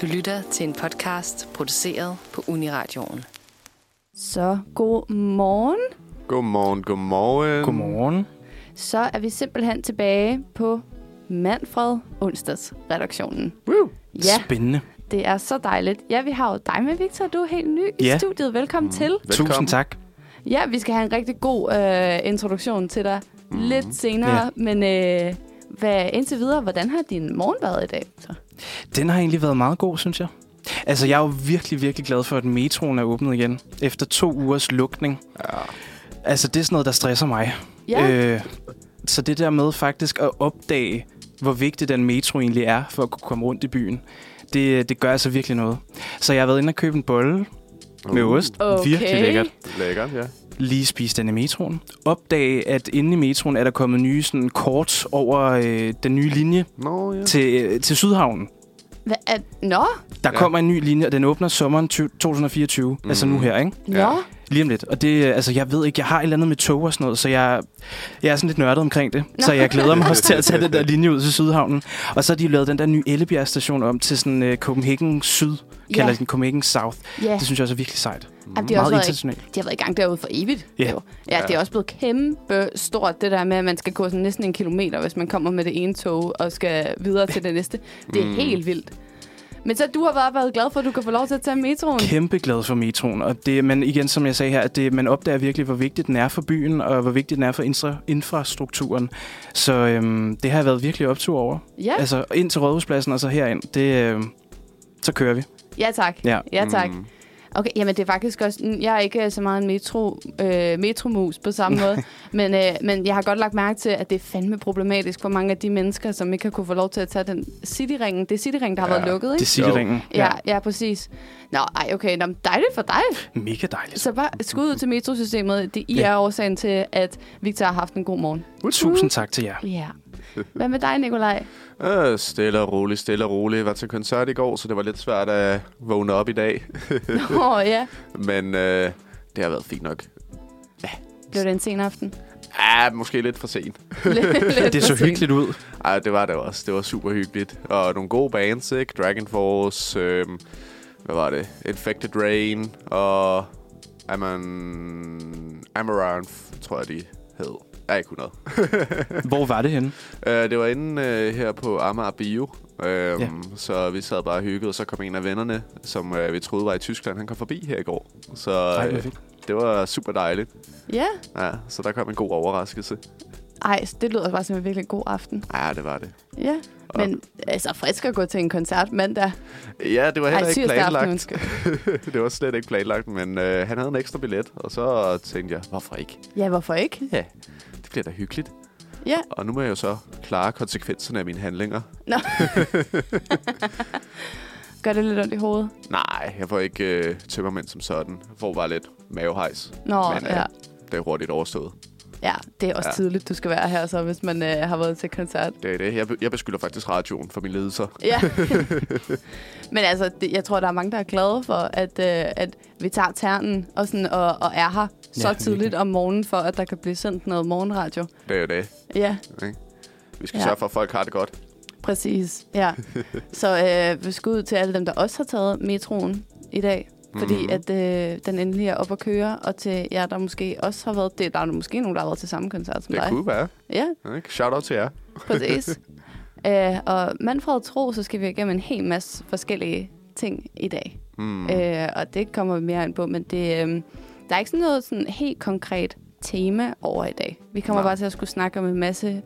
Du lytter til en podcast produceret på Uniradioen. Så god morgen. Godmorgen, godmorgen. Godmorgen. Så er vi simpelthen tilbage på Manfred Onsdags redaktionen. Woo. Ja. Spændende. Det er så dejligt. Ja, vi har jo dig med, Victor. Du er helt ny i Ja. studiet. Velkommen mm. til. Velkommen. Tusind tak. Ja, vi skal have en rigtig god øh, introduktion til dig mm. lidt senere. Ja. Men øh, hvad, indtil videre, hvordan har din morgen været i dag? Så? Den har egentlig været meget god, synes jeg. Altså, jeg er jo virkelig, virkelig glad for, at metroen er åbnet igen. Efter to ugers lukning. Ja. Altså, det er sådan noget, der stresser mig. Ja. Øh, så det der med faktisk at opdage, hvor vigtig den metro egentlig er for at kunne komme rundt i byen, det, det gør altså virkelig noget. Så jeg har været inde og købe en bolle med ost. Okay. Øh, Virkelig lækkert. Lækkert, ja. lige spise den i metroen. Opdage, at inde i metroen er der kommet nye sådan, kort over øh, den nye linje Nå, ja. til, øh, til Sydhavnen. Hva, at, nå, Der Ja. ja. kommer en ny linje, og den åbner sommeren 20- 2024. Mm. Altså nu her, ikke? nå. Ja. Lige om lidt. Og det, øh, altså, jeg ved ikke, jeg har et eller andet med tog og sådan noget, så jeg, jeg er sådan lidt nørdet omkring det. Så jeg glæder mig også til at tage den der linje ud til Sydhavnen. Og så har de lavet den der nye Ellebjerg station om til sådan øh, Copenhagen Syd, kalder Ja. de den Copenhagen South. Ja. Det synes jeg også er virkelig sejt. Jamen, det har også Meget været, internationalt. de har været i gang derude for evigt. Ja. jo. Ja, ja, det er også blevet kæmpe stort, det der med, at man skal gå sådan næsten en kilometer, hvis man kommer med det ene tog og skal videre til det næste. Det er mm. helt vildt. Men så du har bare været glad for, at du kan få lov til at tage metroen. kæmpe glad for metroen, og det, men igen, som jeg sagde her, at det, man opdager virkelig, hvor vigtig den er for byen, og hvor vigtig den er for infra- infrastrukturen. Så øhm, det har jeg været virkelig optur over. Ja, Altså ind til Rådhuspladsen og så herind, det, øhm, så kører vi. ja tak. Ja. ja tak. Mm. Okay, jamen det er faktisk også... mm, Jeg er ikke øh, så meget en metro, øh, metromus på samme måde, men, øh, men jeg har godt lagt mærke til, at det er fandme problematisk for mange af de mennesker, som ikke har kunne få lov til at tage den cityringen. Det er cityringen, der har ja, været lukket, Det ikke? er Cityringen. Ja, ja, præcis. Nå, ej, okay. Nå, men dejligt for dig. Mega dejligt. Så bare skud ud til metrosystemet. Det I Ja. er årsagen til, at Victor har haft en god morgen. Tusind tak til jer. Ja. Hvad med dig, Nikolaj? Øh, stille og roligt, stille og roligt. Jeg var til koncert i går, så det var lidt svært at vågne op i dag. Åh, oh, ja. Men øh, det har været fint nok. Blev det en sen aften? Ah, måske lidt for sent. Det er så hyggeligt ud. Ej, det var det også. Det var super hyggeligt. Og nogle gode bands, ikke? Dragon Force, øhm, hvad var det? Infected Rain og Amon... Amaranth, tror jeg, de hed. Ja, ikke 100. Hvor var det henne? Øh, det var inde øh, her på Amager Bio, øhm, Ja. så vi sad bare og hyggede, og så kom en af vennerne, som øh, vi troede var i Tyskland, han kom forbi her i går. Så Ej, hvor øh, fedt. det var super dejligt. Ja. Ja, så der kom en god overraskelse. Ej, det lyder bare som en virkelig god aften. Ja, det var det. Ja. Men altså, frisk at gå til en koncert mandag. Ja, det var heller Ej, ikke tirsdag aften, planlagt. undskyld. det var slet ikke planlagt, men øh, han havde en ekstra billet, og så tænkte jeg, hvorfor ikke? Ja, hvorfor ikke? Ja, det bliver da hyggeligt. Ja. Og nu må jeg jo så klare konsekvenserne af mine handlinger. Nå. Gør det lidt ondt i hovedet? Nej, jeg får ikke øh, tømmermænd som sådan. Jeg får bare lidt mavehejs. Nå, Men, øh, ja. Det er hurtigt overstået. Ja, det er også Ja. ja. tidligt, du skal være her så, hvis man øh, har været til koncert. Det er det. Jeg, be- jeg beskylder faktisk radioen for min ledelse. Ja. Men altså, det, jeg tror, der er mange, der er glade for, at, øh, at vi tager ternen og, sådan, og, og er her så Ja, tidligt virkelig. om morgenen, for at der kan blive sendt noget morgenradio. Det er jo det. Ja, Ikke? Vi skal ja. Ja. sørge for, at folk har det godt. præcis. Ja. så øh, vi skal ud til alle dem, der også har taget metroen i dag. Fordi Mhm. mm-hmm. at øh, den endelig er op at køre, og til jer, der måske også har været... Det, der er måske nogen, der har været til samme koncert som Det dig. kunne være. Ja, Ikke? Shout out til jer. Præcis. Æ, og Manfred Tro, så skal vi igennem en hel masse forskellige ting i dag. Mm. Æ, og det kommer vi mere ind på, men det, øhm, der er ikke sådan noget sådan helt konkret tema over i dag. Vi kommer Nej. bare til at skulle snakke om en masse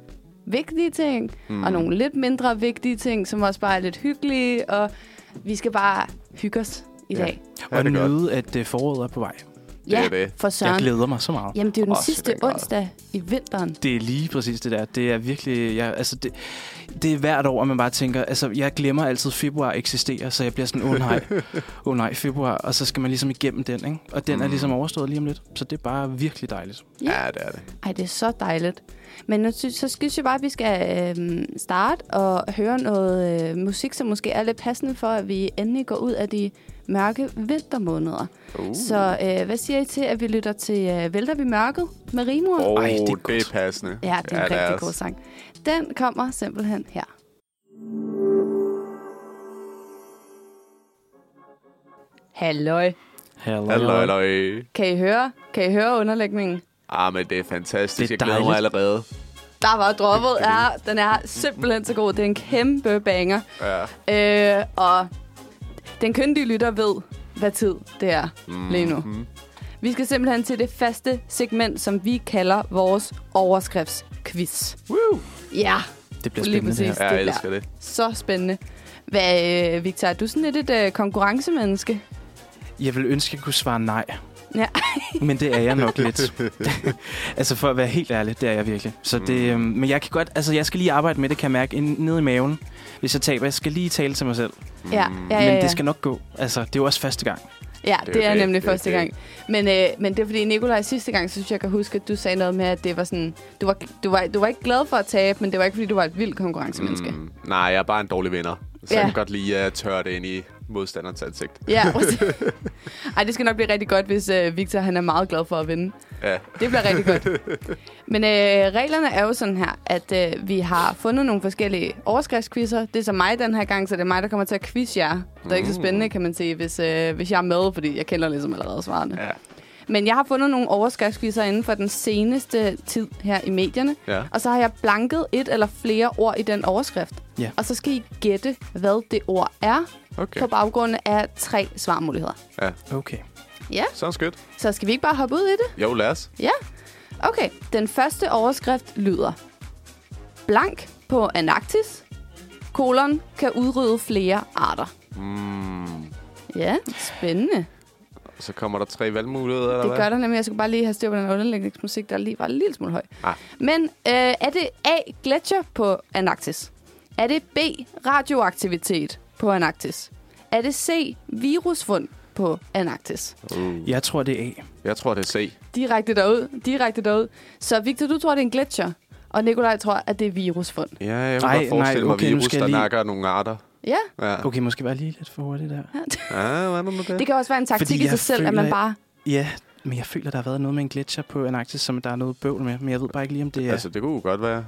vigtige ting, Hmm. mm. og nogle lidt mindre vigtige ting, som også bare er lidt hyggelige, og vi skal bare hygge os i Ja. dag. Ja, Og det er godt. nyde, at øh, foråret er på vej. Det er det. for Jeg Søren. glæder mig så meget. Jamen, det er jo den Også i sidste den grad. onsdag i vinteren. Det er lige præcis det der. Det er virkelig... Jeg, altså det, det er hvert år, at man bare tænker... Altså, jeg glemmer altid, at februar eksisterer, så jeg bliver sådan, åh oh, nej, åh oh, nej, februar. Og så skal man ligesom igennem den, ikke? Og Mm. den er ligesom overstået lige om lidt. Så det er bare virkelig dejligt. Ja, det er det. Ej, det er så dejligt. Men nu sy- så synes jeg bare, at vi skal øh, starte og høre noget øh, musik, som måske er lidt passende for, at vi endelig går ud af de mørke vintermåneder. Uh. Uh. Så øh, hvad siger I til, at vi lytter til øh, Vælter vi mørket med Rimor? Åh, oh, Ej, det, det er er godt. det er passende. Ja, det er en er altså- rigtig også. god sang. Den kommer simpelthen her. Halløj. Hello. Halløj, halløj. Kan I høre? Kan I høre underlægningen? Ah, men det er fantastisk. Det Det er er jeg glæder mig dejligt. allerede. Der var droppet. Ja, den er simpelthen så god. Det er en kæmpe banger. Ja. Øh, og den køndige lytter ved, hvad tid det er lige nu. Vi skal simpelthen til det faste segment, som vi kalder vores overskriftsquiz. Woo! Ja, Det bliver lige spændende det her. præcis. Ja, Det jeg bliver elsker det. så spændende. Hvad, øh, Victor, er du sådan lidt et øh, konkurrencemenneske? Jeg ville ønske, at jeg kunne svare nej. Ja. Men det er jeg nok lidt. altså for at være helt ærlig, det er jeg virkelig. Så det, Mm. øhm, men jeg kan godt, altså jeg skal lige arbejde med det, kan jeg mærke, ind- nede i maven. Hvis jeg taber, jeg skal lige tale til mig selv. Ja, Hmm. ja, ja, Men ja. det skal nok gå. Altså, det er jo også første gang. ja er det, jo er det, nemlig det er første det. gang. Men, øh, men det er fordi, Nikolaj, sidste gang, så synes jeg, jeg kan huske, at du sagde noget med, at det var sådan, du var, du var, du var ikke glad for at tabe, men det var ikke, fordi du var et vildt konkurrencemenneske. Mm. Mm, nej, jeg er bare en dårlig vinder. Så Ja. jeg kan godt lide at tørre det ind i modstanderens ansigt. Ja, præcis. Ej, det skal nok blive rigtig godt, hvis øh, Victor han er meget glad for at vinde. Ja. Det bliver rigtig godt. Men øh, reglerne er jo sådan her, at øh, vi har fundet nogle forskellige overskriftsquizzer. Det er så mig den her gang, så det er mig, der kommer til at quizze jer. Det er ikke Mm. så spændende, kan man sige, hvis, øh, hvis jeg er med, fordi jeg kender ligesom allerede svarene. Ja. Men jeg har fundet nogle overskriftsquizzer inden for den seneste tid her i medierne. Ja. Og så har jeg blanket et eller flere ord i den overskrift. Ja. Og så skal I gætte, hvad det ord er, Okay. på baggrund af tre svarmuligheder. Ja. Okay. Ja, Sounds good. så skal vi ikke bare hoppe ud i det? Jo, lad os. Ja. Okay, den første overskrift lyder. Blank på Antarktis. Kolon kan udrydde flere arter. Mm. Ja, spændende. Så kommer der tre valgmuligheder, eller Det hvad? gør der nemlig. Jeg skulle bare lige have styr på den underlægningsmusik, der lige var en lille smule høj. Ah. Men øh, er det A. Gletscher på Antarktis? Er det B. Radioaktivitet på Antarktis? Er det C. Virusfund på Antarktis? Uh. Jeg tror, det er A. Jeg tror, det er C. Direkte derud, direkte derud. Så Victor, du tror, det er en gletscher, og Nikolaj tror, at det er virusfund. Ja, jeg Ej, kunne godt forestille nej, mig okay, nu virus, skal jeg der lige- nakker nogle arter. Ja, Ja. Okay, måske bare lige lidt for hurtigt der. Ah, hvad er der med det? det kan også være en taktik Fordi i jeg sig selv, at føler, man at- bare... Ja, men jeg føler, der har været noget med en gletscher på Antarktis, som der er noget bøvl med. Men jeg ved bare ikke lige, om det er... Altså, det kunne jo godt være.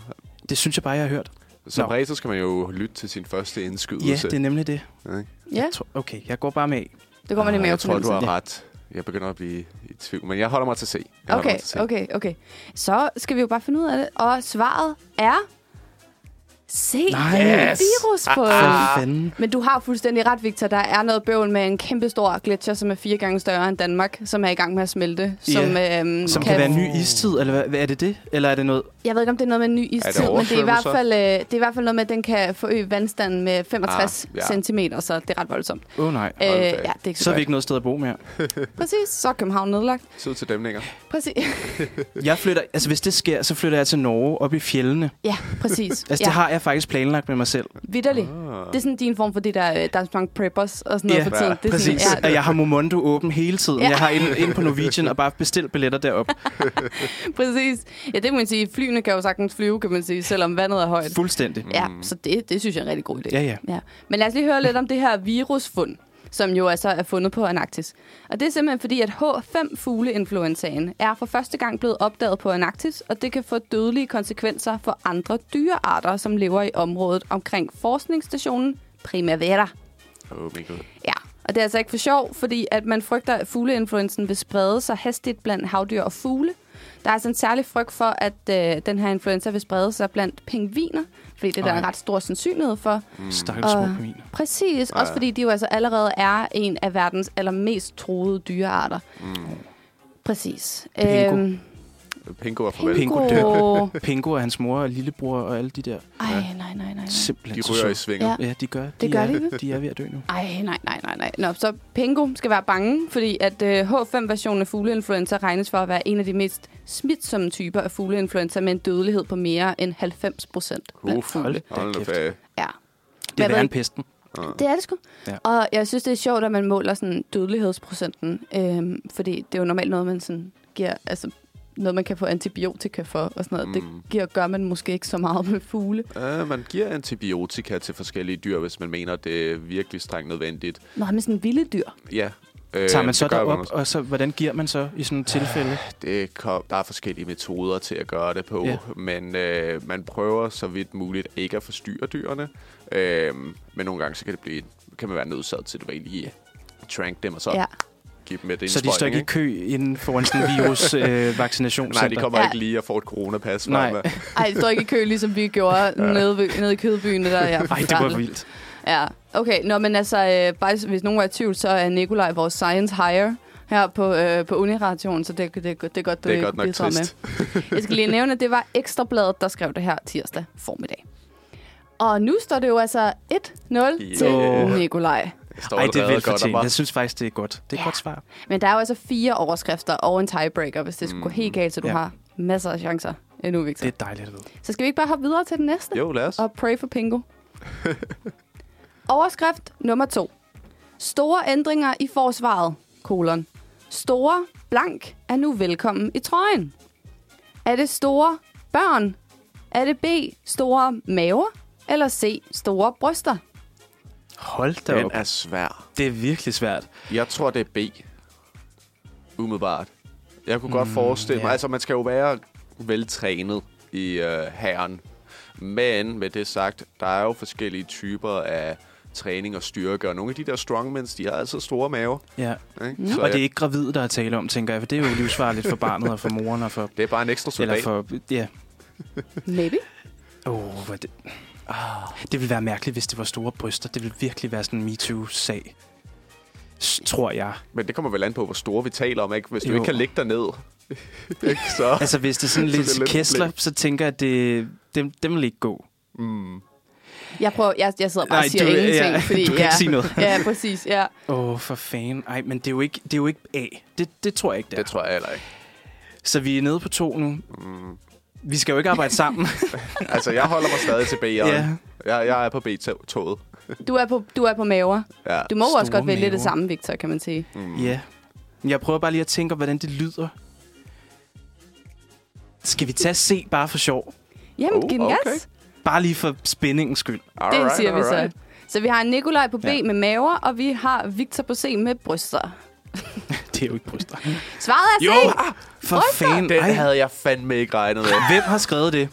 det synes jeg bare, jeg har hørt. Som Nå. regel, så skal man jo lytte til sin første indskydelse. Ja, det er nemlig det. Ikke? Ja, Jeg tror, okay, jeg går bare med A. det kommer Ah, lidt med Jeg tror, du mavefornemmelsen. har ret. Jeg begynder at blive i tvivl, men jeg holder mig til C. Jeg holder Okay, mig til C. okay, okay. Så skal vi jo bare finde ud af det. Og svaret er... C. Yes! Virusfund. Ah, For fanden. Men du har fuldstændig ret, Victor. Der er noget bøvl med en kæmpe stor gletsjer, som er fire gange større end Danmark, som er i gang med at smelte. Som, Ja, øhm, Som kan være en ny istid, eller hvad, hvad er det det? Eller er det noget... Jeg ved ikke, om det er noget med en ny det istid, men det er, i hvert oversvømmelser? fald, øh, det er i hvert fald noget med, at den kan forøge vandstanden med 65 Ah, ah, ja. ja. centimeter, så det er ret voldsomt. Åh oh, nej. Øh, da ja, op. det er ikke så, Så er vi godt. ikke noget sted at bo mere. Præcis, så er København nedlagt. Sød til dæmninger. Præcis. Jeg flytter, altså hvis det sker, så flytter jeg til Norge op i fjellene. ja, præcis. Altså ja, det har jeg faktisk planlagt med mig selv. Vitterligt. Det er sådan din form for det der, øh, der er så mange preppers og sådan noget Ah. Ja, for tiden. Det er Præcis. Sådan, At jeg har Momondo åben hele tiden. Ja. Jeg har ind, ind på Norwegian og bare bestilt billetter derop. præcis. Ja, det må man sige. Flyene kan jo sagtens flyve, kan man sige, selvom vandet er højt. Fuldstændig. Ja, så det, det synes jeg er en rigtig god idé. Ja, ja. Ja. Men lad os lige høre lidt om det her virusfund, som jo altså er fundet på Antarktis. Og det er simpelthen fordi, at H5-fugleinfluenzaen er for første gang blevet opdaget på Antarktis, og det kan få dødelige konsekvenser for andre dyrearter, som lever i området omkring forskningsstationen Primavera. Åh, oh, Mikkel. Ja, og det er altså ikke for sjov, fordi at man frygter, at fugleinfluenzen vil sprede sig hastigt blandt havdyr og fugle. Der er altså en særlig frygt for, at øh, den her influenza vil sprede sig blandt pingviner, fordi det er der Ej. en ret stor sandsynlighed for. Mm. Stakkels små Og- kaniner. Præcis, Ja. også fordi de jo altså allerede er en af verdens allermest truede dyrearter. Mm. Præcis. Pingo. Øhm, Pingo er farvel. Pingo. Pingo. Pingo og hans mor og lillebror og alle de der Ej, nej, nej, nej. nej. simpelthen De så ryger i søde. svinget. Ja. Ja, de gør. Det gør er, de, vel? De er ved at dø nu. Ej, nej, nej, nej, nej. Nå, så Pingo skal være bange, fordi at øh, H5-versionen af fugleinfluenza regnes for at være en af de mest smitsomme typer af fugleinfluenza med en dødelighed på mere end 90 procent. Uff, Hold da hold da kæft. fag. Ja, Det er Hvad ved- værre end pesten. det er det sgu. Ja. Ja. Og jeg synes, det er sjovt, at man måler sådan dødelighedsprocenten, øhm, fordi det er jo normalt noget, man sådan giver, altså noget, man kan få antibiotika for og sådan noget. Mm. Det giver, gør man måske ikke så meget med fugle. Uh, man giver antibiotika til forskellige dyr, hvis man mener, det er virkelig strengt nødvendigt. Nå, med sådan vilde dyr. Ja. Øh, Tager man så det gør derop, også. og så, hvordan giver man så i sådan et tilfælde? Det kom, der er forskellige metoder til at gøre det på, Ja. ja. men øh, man prøver så vidt muligt ikke at forstyrre dyrene. Øh, men nogle gange så kan det blive, kan man være nødsaget til det var egentlig trank dem, og så Ja. ja. give dem et Så de står indsprøjtning. ikke i ikke? kø inden foran sådan en virus øh, Nej, de vaccinationscenter. kommer Ja. ikke lige og får et coronapas. Nej. frem, hva'? Ej, det står ikke i kø, ligesom vi gjorde ja. nede, ved, nede i kødbyen. Det der, ja, Nej, det var vildt. Ja, okay. Nå, men altså, øh, bare, så- hvis nogen er i tvivl, så er Nikolaj vores science hire her på, øh, på Uniradioen, så det, det, det er godt, du Det er ikke godt nok bidrager trist. Med. Jeg skal lige nævne, at det var Ekstrabladet, der skrev det her tirsdag formiddag. Og nu står det jo altså 1-0 yeah. Yeah. til Nikolaj. Jeg står Nej, det er allerede vildt godt og fortjent. bare- Jeg synes faktisk, det er godt. Det er et godt svar. Men der er jo altså fire overskrifter og en tiebreaker, hvis det skulle Mm. gå helt galt, så du Ja. har masser af chancer endnu, Victor. Det er dejligt at vide. Så skal vi ikke bare hoppe videre til den næste? Jo, lad os. og pray for Pingo. Overskrift nummer to. Store ændringer i forsvaret, kolon. Store blank er nu velkommen i trøjen. Er det store børn? Er det B, store maver? Eller C, store bryster? Hold da Den op. er svær. Det er virkelig svært. Jeg tror, det er B. Umiddelbart. Jeg kunne godt forestille mig... Mm, ja. Altså, man skal jo være veltrænet i øh, herren. Men med det sagt, der er jo forskellige typer af træning og styrke, og nogle af de der strongmans, de har altid store maver. Ja. Ikke? Så, og det er Mm. jeg- ikke gravide, der er tale om, tænker jeg, for det er jo livsfarligt for barnet og for moren og for... det er bare en ekstra Eller soldat. For... for... Ja. Maybe. Åh, oh, det... Ah. Oh, det ville være mærkeligt, hvis det var store bryster. Det ville virkelig være sådan en MeToo-sag. S- Tror jeg. Men det kommer vel an på, hvor store vi taler om, ikke? Hvis du Jo. ikke kan lægge dig ned, ikke? så... Altså, hvis det er sådan Så lidt det er lidt kæsler, problem. så tænker jeg, at det, dem, dem vil ikke gå. Mm. Jeg, prøver, jeg, jeg sidder bare og Nej, siger du- øh, ingenting. ja, fordi, du kan ja, ikke sige noget. Ja, præcis. Ja. Åh, oh, for fanden. Ej, men det er jo ikke, det er jo ikke A. Det, det tror jeg ikke, det, er. Det tror jeg heller ikke. Så vi er nede på to nu. Mm. Vi skal jo ikke arbejde sammen. Altså, jeg holder mig stadig til B'eren. Ja. Jeg, jeg er på B-toget. Du, er på, du er på maver. Ja. Du må jo også Store godt vælge det maver. samme, Victor, kan man sige. Mm. Ja. Men Jeg prøver bare lige at tænke, hvordan det lyder. Skal vi tage C bare for sjov? Jamen, Oh, oh, gas. okay. Bare lige for spændingens skyld. Det Alright, siger alright. vi så. Så vi har Nikolaj på B Ja. ja. med maver, og vi har Victor på C med bryster. Det er jo ikke bryster. Svaret er C. ah, for Bryster! fanden. Den Ej, havde jeg fandme ikke regnet med. hvem har skrevet det?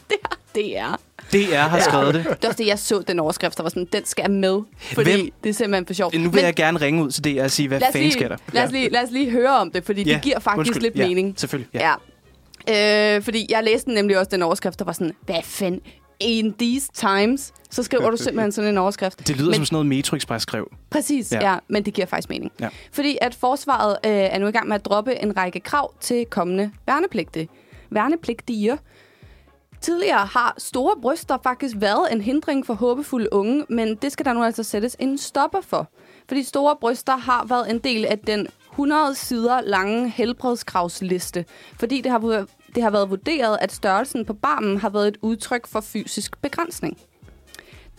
Det er. DR har skrevet det. Det var også det, jeg så den overskrift, der var sådan, den skal med. Fordi Hvem- Hvem? det er simpelthen for sjovt. Nu vil jeg gerne ringe ud til DR og sige, hvad lad os, fanden sker lige, der? lad, os lige, lad os lige høre om det, fordi ja. det giver faktisk undskyld. lidt ja, mening. Selvfølgelig. Ja. Ja. ja. Øh, fordi jeg læste nemlig også den overskrift, der var sådan, hvad fanden, in these times, så skriver du simpelthen sådan en overskrift. Det lyder Men som sådan noget, Metro Express skrev. Præcis, Ja. ja. ja, men det giver faktisk mening. Ja. Fordi at forsvaret øh, er nu i gang med at droppe en række krav til kommende værnepligtige. værnepligtige. Tidligere har store bryster faktisk været en hindring for håbefulde unge, men det skal der nu altså sættes en stopper for. Fordi store bryster har været en del af den 100 sider lange helbredskravsliste, fordi det har, vu- det har været vurderet, at størrelsen på barmen har været et udtryk for fysisk begrænsning.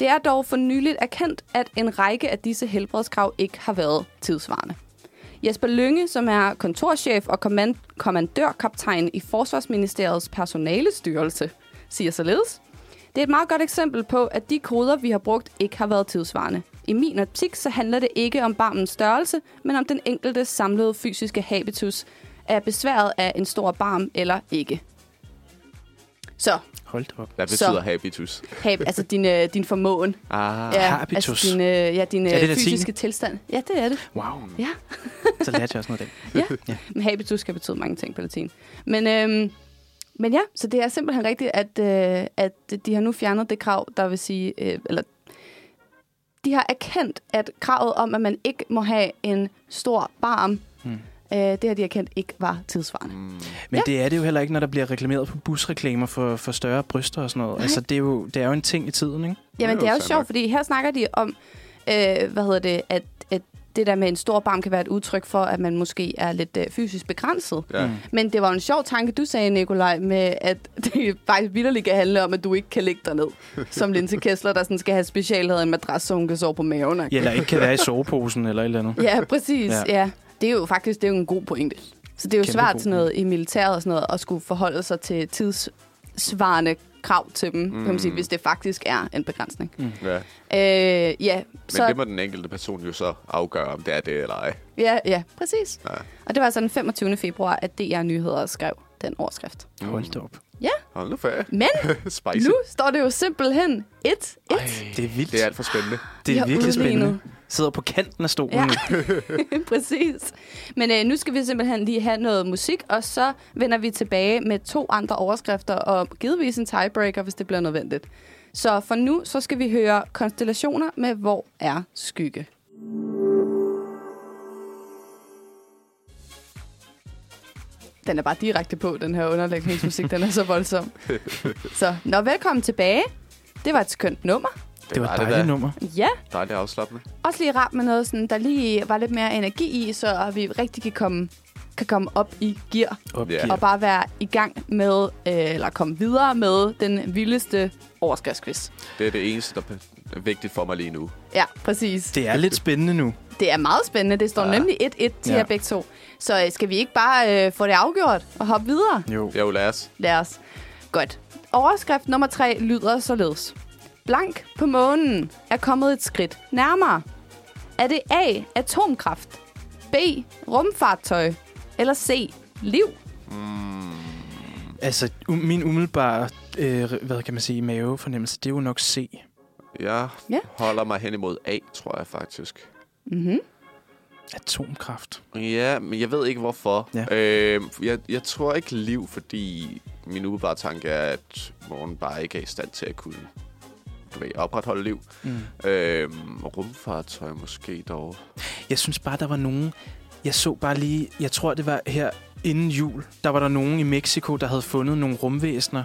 Det er dog for nyligt erkendt, at en række af disse helbredskrav ikke har været tidsvarende. Jesper Lønge, som er kontorchef og kommand- kommandørkaptajn i Forsvarsministeriets personalestyrelse, siger således. Det er et meget godt eksempel på, at de koder, vi har brugt, ikke har været tidsvarende. I min optik så handler det ikke om barmens størrelse, men om den enkelte samlede fysiske habitus er besværet af en stor barm eller ikke. Så, Hold da op. Hvad Så. betyder habitus? hab, altså din, øh, din formåen, Ah, Ja, Habitus. Altså din, øh, ja, din Er det øh, latin? fysiske tilstand. Ja, det er det. Wow. Ja. Så lærte jeg også noget af det. ja. Ja. Men habitus kan betyde mange ting på latin. Men, øhm, men ja, så det er simpelthen rigtigt, at, øh, at de har nu fjernet det krav, der vil sige, øh, eller de har erkendt, at kravet om, at man ikke må have en stor barm, Hmm. hmm. øh, det har de erkendt ikke var tidsvarende. mm, Men ja. det er det jo heller ikke, når der bliver reklameret på busreklamer for, for større bryster og sådan noget. Altså, det er, jo, det er jo en ting i tiden, ikke? Jamen, Det er det er jo jo fair sjovt, nok. fordi her snakker de om, øh, hvad hedder det, at, at det der med en stor barm kan være et udtryk for, at man måske er lidt øh, fysisk begrænset. ja. Mm. Mm. Men det var jo en sjov tanke, du sagde, Nikolaj, med at det faktisk vildt kan handle om, at du ikke kan lægge dig ned. Som Linse Kessler, der sådan skal have specialhed en madras, så hun kan sove på maven. Ja, eller ikke kan være i soveposen eller et eller andet. ja præcis. Ja. Ja. ja. Det er jo faktisk det er jo en god pointe. Så det er jo Kæmpe god svært sådan noget, i militæret og sådan noget, at skulle forholde sig til tidssvarende krav til dem, mm. kan man sige, hvis det faktisk er en begrænsning. Mm. ja. Øh, ja, Men så... det må den enkelte person jo så afgøre, om det er det eller ej. Ja, ja, præcis. Ja. Ja. Og det var altså den 25. februar, at DR Nyheder skrev den overskrift. Hold da op. Ja, Hold nu færdig. men Spicy. nu står det jo simpelthen 1-1. Det er vildt. Det er alt for spændende. det Vi er har virkelig spændende. udlignet. sidder på kanten af stolen. Ja. Ja. Præcis. Men øh, nu skal vi simpelthen lige have noget musik, og så vender vi tilbage med to andre overskrifter, og givetvis en tiebreaker, hvis det bliver nødvendigt. Så for nu, så skal vi høre konstellationer med Hvor er skygge? Den er bare direkte på, den her underlægningsmusik. Den er så voldsom. Så, nå, velkommen tilbage. Det var et skønt nummer. Det var et det dejligt da. nummer. Ja. Dejligt afslappende. Også lige rart med noget, sådan, der lige var lidt mere energi i, så vi rigtig kan komme, kan komme op i gear. Ja. Opgiver. Og bare være i gang med, øh, eller komme videre med den vildeste overskriftsquiz. Det er det eneste, der er vigtigt for mig lige nu. Ja, præcis. Det, Det er lidt spændende nu. det er meget spændende. Det står ja. Ja. nemlig 1-1 til ja. Ja. jer begge to. Så øh, skal vi ikke bare øh, få det afgjort og hoppe videre? Jo. Jo, lad os. Lad os. Godt. Overskrift nummer 3 lyder således. Blank på månen er kommet et skridt nærmere. Er det A. Atomkraft, B. Rumfartøj eller C. Liv? Altså, um, min umiddelbare, øh, hvad kan man sige, mavefornemmelse, det er jo nok C. Jeg Ja. ja. holder mig hen imod A, tror jeg faktisk. Atomkraft. Ja, men jeg ved ikke hvorfor. Ja. Øh, jeg, jeg tror ikke liv, fordi min umiddelbare tanke er, at morgen bare ikke er i stand til at kunne du ved, opretholde liv. Mm. Øh, rumfartøj måske dog. Jeg synes bare, der var nogen... Jeg så bare lige... Jeg tror, det var her inden jul. Der var der nogen i Mexico, der havde fundet nogle rumvæsener.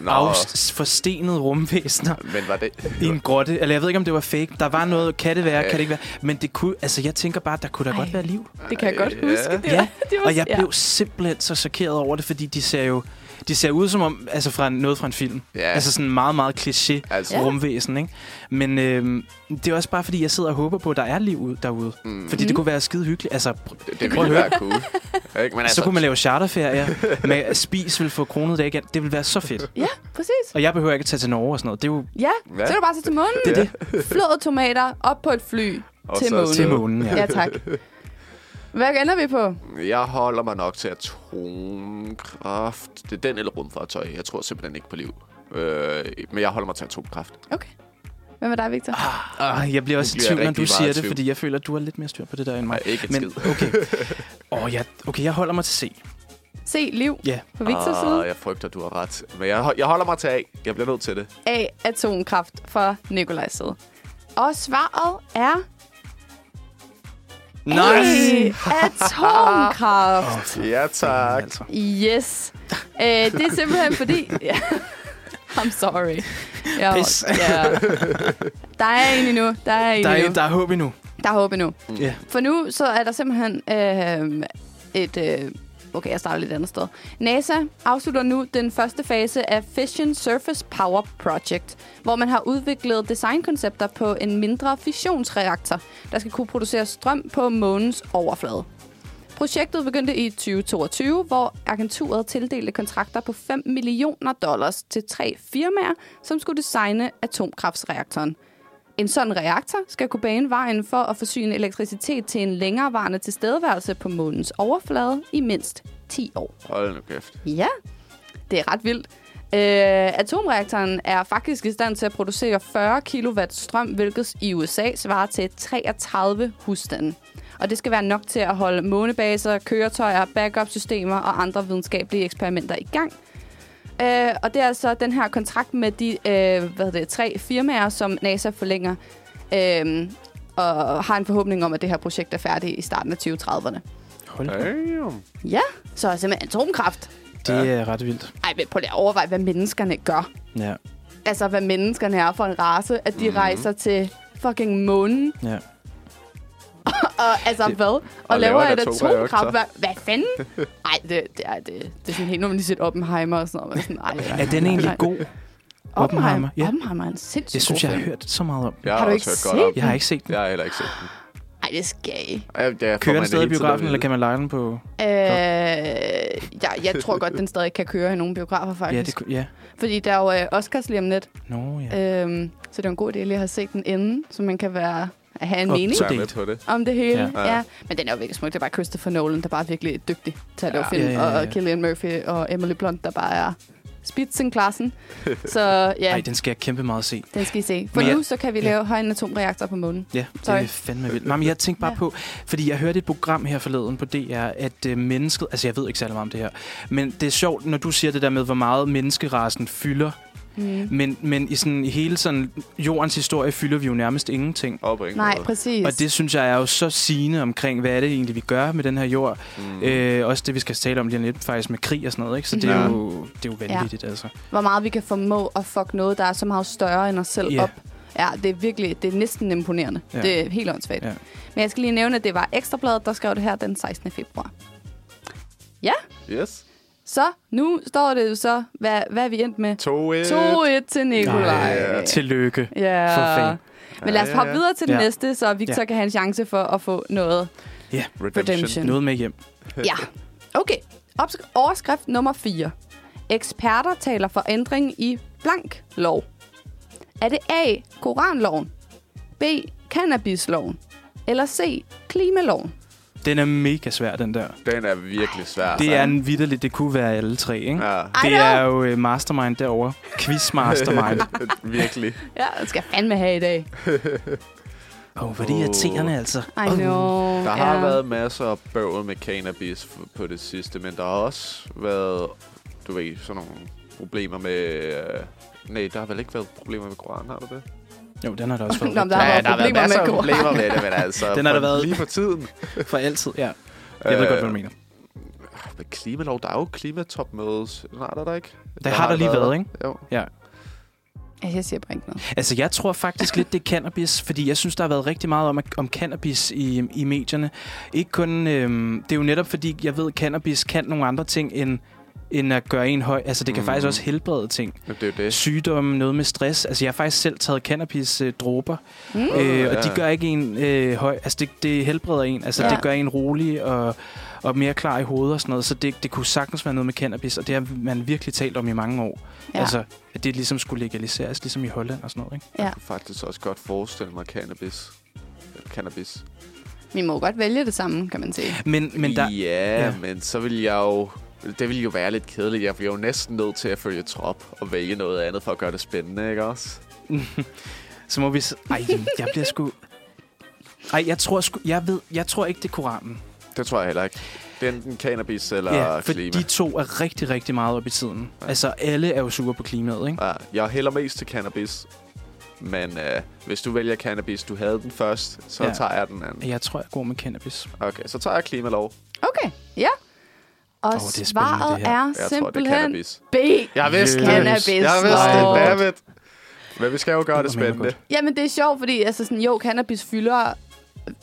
Nå, Afs- forstenede rumvæsener. men var det... I en grotte. Eller jeg ved ikke, om det var fake. Der var noget, kan det være, kan det ikke være. Men det kunne, altså jeg tænker bare, der kunne da Ej. godt være liv. Det kan jeg godt Ja. huske. Det Ja, det Og jeg blev simpelthen så chokeret over det, fordi de ser jo de ser ud som om altså fra en- noget fra en film. Ja. Altså sådan meget, meget kliché Altså, ja. rumvæsen, ikke? Men øhm, det er også bare, fordi jeg sidder og håber på, at der er liv ud- derude. Mm. Fordi det kunne være skide hyggeligt. Altså, pr- det, det prøv at ville høre. være cool. Ikke? Men Altså, altså, så kunne man lave charterferier, med spis vil få kronet det igen. Det vil være så fedt. Ja, præcis. Og jeg behøver ikke at tage til Norge og sådan noget. Det er jo Ja, Hvad? så er det bare så til månen. det, er det. Flåede tomater op på et fly Og til så månen. til månen. Ja. Ja, tak. Hvad ender vi på? Jeg holder mig nok til atomkraft. Det er den eller rumfartøj. Jeg tror simpelthen ikke på liv. Øh, men jeg holder mig til atomkraft. Okay. Hvad med dig, Victor? Ah, jeg bliver også i Nu bliver jeg tvivl, når du rigtig siger meget i det, tvivl. fordi jeg føler, at du har lidt mere styr på det der end mig. Nej, ikke et Men skid. okay. Oh, jeg, okay, jeg holder mig til C. Se liv Ja. på Victors side. jeg frygter, du har ret. Men jeg, ho- jeg holder mig til A. Jeg bliver nødt til det. af atomkraft fra Nikolajs side. Og svaret er Nice! A, atomkraft. Ja, tak. Altså. Yes. Øh, det er simpelthen fordi... Ja. I'm sorry. Jeg, Pis. Ja. Der er en endnu. Der er en Der er, endnu. der er håb endnu. Der er håb endnu. Ja. For nu så er der simpelthen øh, et... Øh, okay, jeg starter lidt andet sted. NASA afslutter nu den første fase af Fission Surface Power Project, hvor man har udviklet designkoncepter på en mindre fissionsreaktor, der skal kunne producere strøm på månens overflade. Projektet begyndte i 2022, hvor agenturet tildelte kontrakter på 5 millioner dollars til tre firmaer, som skulle designe atomkraftsreaktoren. En sådan reaktor skal kunne bane vejen for at forsyne elektricitet til en længerevarende tilstedeværelse på månens overflade i mindst 10 år. Hold nu kæft. Ja, det er ret vildt. Øh, atomreaktoren er faktisk i stand til at producere 40 kW strøm, hvilket i USA svarer til 33 husstande. Og det skal være nok til at holde månebaser, køretøjer, backup-systemer og andre videnskabelige eksperimenter i gang. Øh, og det er altså den her kontrakt med de øh, hvad hedder det, tre firmaer, som NASA forlænger, øh, og har en forhåbning om, at det her projekt er færdigt i starten af 2030'erne. Hold da. Damn. Ja, så er simpelthen atomkraft. Det er ret vildt. Ej, men prøv lige at overveje, hvad menneskerne gør. Ja. Altså, hvad menneskerne er for en race, at de mm. rejser til fucking månen, ja. og altså det, hvad? Og, og laver laver et et atomreaktor. atomkraftværk. Hvad fanden? Ej, det, det, er, det, det er sådan helt, når man lige set Oppenheimer og sådan noget. Man sådan, ej, nej, Er nej, den nej, egentlig nej. god? Oppenheimer, Oppenheimer, ja. ja. Oppenheimer er en sindssygt Jeg synes, god jeg har film. hørt så meget om. Jeg har, Har du også ikke hørt godt om set den. Jeg har ikke set den. Jeg har heller ikke set den. Ej, det skal I. Ej, Jeg, jeg Kører den stadig i biografen, eller kan man lege den på... Øh, jeg, jeg tror godt, den stadig kan køre i nogle biografer, faktisk. Ja, det, ku- ja. Fordi der er jo øh, Oscars lige om lidt, Nå, ja. øhm, så det er en god idé lige at have set den inden, så man kan være, at have en Og- mening. så- man med Delt. på det? om det hele. Ja. Ja. ja. Men den er jo virkelig smuk. Det er bare Christopher Nolan, der bare er virkelig dygtig til at lave Ja. film. Ja, ja, ja, ja. Og Killian Murphy og Emily Blunt, der bare er Spitzenklassen. Så ja, Ej, den skal jeg kæmpe meget se. den skal I se. For Men jeg- nu så kan vi ja. lave højen atomreaktor på månen. Ja, Sorry. det er fandme vildt. Nej, men jeg tænkte bare Ja. ja. på, fordi jeg hørte et program her forleden på DR, at øh, mennesket, altså jeg ved ikke særlig meget om det her, men det er sjovt, når du siger det der med, hvor meget menneskerasen fylder, Mm. men, men i, sådan, i hele sådan, jordens historie fylder vi jo nærmest ingenting. Op og ingen Nej, måde. præcis. Og det synes jeg er jo så sigende omkring, hvad er det egentlig, vi gør med den her jord. Mm. Mm. Øh, også det, vi skal tale om lige om lidt, faktisk med krig og sådan noget. Ikke? Så det er, Ja. Mm. jo, det er jo vanvittigt, ja. altså. Hvor meget vi kan formå at fuck noget, der er så meget større end os selv Ja. op. Ja, det er virkelig, det er næsten imponerende. Ja. Det er helt åndssvagt. Ja. Men jeg skal lige nævne, at det var Ekstrabladet, der skrev det her den 16. februar. Ja, Yes. så nu står det jo så, hvad, hvad er vi endt med? 2-1. 2-1 til Nikolaj. Ja. Øh, Tillykke. Ja. For fanden. Men lad os Ja, ja, hoppe ja. videre til den Ja. næste, så Victor Ja. kan have en chance for at få noget redemption. Noget med hjem. Ja. Okay. Ops- overskrift nummer 4. Eksperter taler for ændring i blank lov. Er det A. Koranloven, B. Cannabisloven, eller C. Klimaloven? Den er mega svær, den der. Den er virkelig svær. altså. Det Altså, er en vidderligt, det kunne være alle tre, ikke? Ja, Ej, Det nå. er jo øh, mastermind derovre. Quiz mastermind. virkelig. Ja, det skal jeg fandme have i dag. Åh, oh, hvor er det irriterende, altså. I know. Der har ja. været masser af bøvl med cannabis f- på det sidste, men der har også været, du ved, sådan nogle problemer med... Øh, nej, der har vel ikke været problemer med koran, har der det? Jo, den har der også Nå, men været. der har været problemer masser med af koran. problemer med det, men altså... Den har der for- været. Lige for tiden. For altid, ja. Jeg ved godt, hvad du Øh, mener. Men klimalov, der er jo klimatopmødes. Nej, der er der ikke. Der har der lige været, ikke? Jo. Ja. Ja, jeg siger bare ikke noget. Altså, jeg tror faktisk lidt, det er cannabis, fordi jeg synes, der har været rigtig meget om, om cannabis i, i medierne. Ikke kun... Øhm, det er jo netop, fordi jeg ved, at cannabis kan nogle andre ting, end, end at gøre en høj... Altså, det kan mm. Mhm. faktisk også helbrede ting. Jamen, Det er jo det. Sygdomme, noget med stress. Altså, jeg har faktisk selv taget øh, cannabis-dråber, Mm. øh, og de ja. gør ikke en øh, høj... Altså, det, det helbreder en. Altså, Ja. ja. det gør en rolig og, og mere klar i hovedet og sådan noget. Så det, det kunne sagtens være noget med cannabis, og det har man virkelig talt om i mange år. Ja. Ja. Altså, at det ligesom skulle legaliseres, ligesom i Holland og sådan noget, ikke? ja. Jeg kan faktisk også godt forestille mig cannabis. Cannabis. Vi må jo godt vælge det samme, kan man sige. Men, men der, ja, ja. men så vil jeg jo... Det ville jo være lidt kedeligt. Jeg bliver jo næsten nødt til at følge trop og vælge noget andet for at gøre det spændende, ikke også? så må vi... s- Ej, jamen, jeg bliver sgu... Ej, jeg tror, sgu, jeg, ved, jeg tror ikke, det er Koranen. Det tror jeg heller ikke. Det er enten cannabis eller ja, for klima. de to er rigtig, rigtig meget op i tiden. Altså, alle er jo sure på klimaet, ikke? Ja, Ah, jeg hælder mest til cannabis. Men øh, hvis du vælger cannabis, du havde den først, så ja. Ja. tager jeg den anden. Jeg tror, jeg går med cannabis. Okay, så tager jeg klimalov. Okay, ja. Og oh, det er er spændende, svaret det her. er Jeg tror, det er simpelthen cannabis. B. Jeg vidste det. Cannabis. Jeg vidste det, Lord. dammit. Men vi skal jo gøre det Det var mega spændende. Jamen, det er sjovt, fordi altså, sådan, jo, cannabis fylder...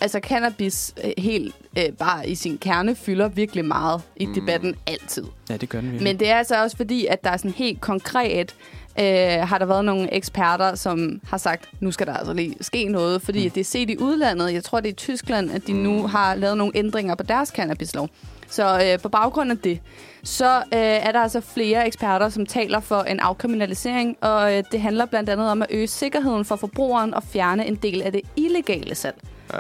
Altså, cannabis øh, helt øh, bare i sin kerne fylder virkelig meget i mm. debatten altid. Ja, det gør den virkelig. Men det er altså også fordi, at der er sådan helt konkret... Øh, har der været nogle eksperter, som har sagt, nu skal der altså lige ske noget, fordi mm. det er set i udlandet. Jeg tror, det er i Tyskland, at de nu har lavet nogle ændringer på deres cannabislov. Så øh, på baggrund af det, så øh, er der altså flere eksperter, som taler for en afkriminalisering, og øh, det handler blandt andet om at øge sikkerheden for forbrugeren og fjerne en del af det illegale salg. Ja.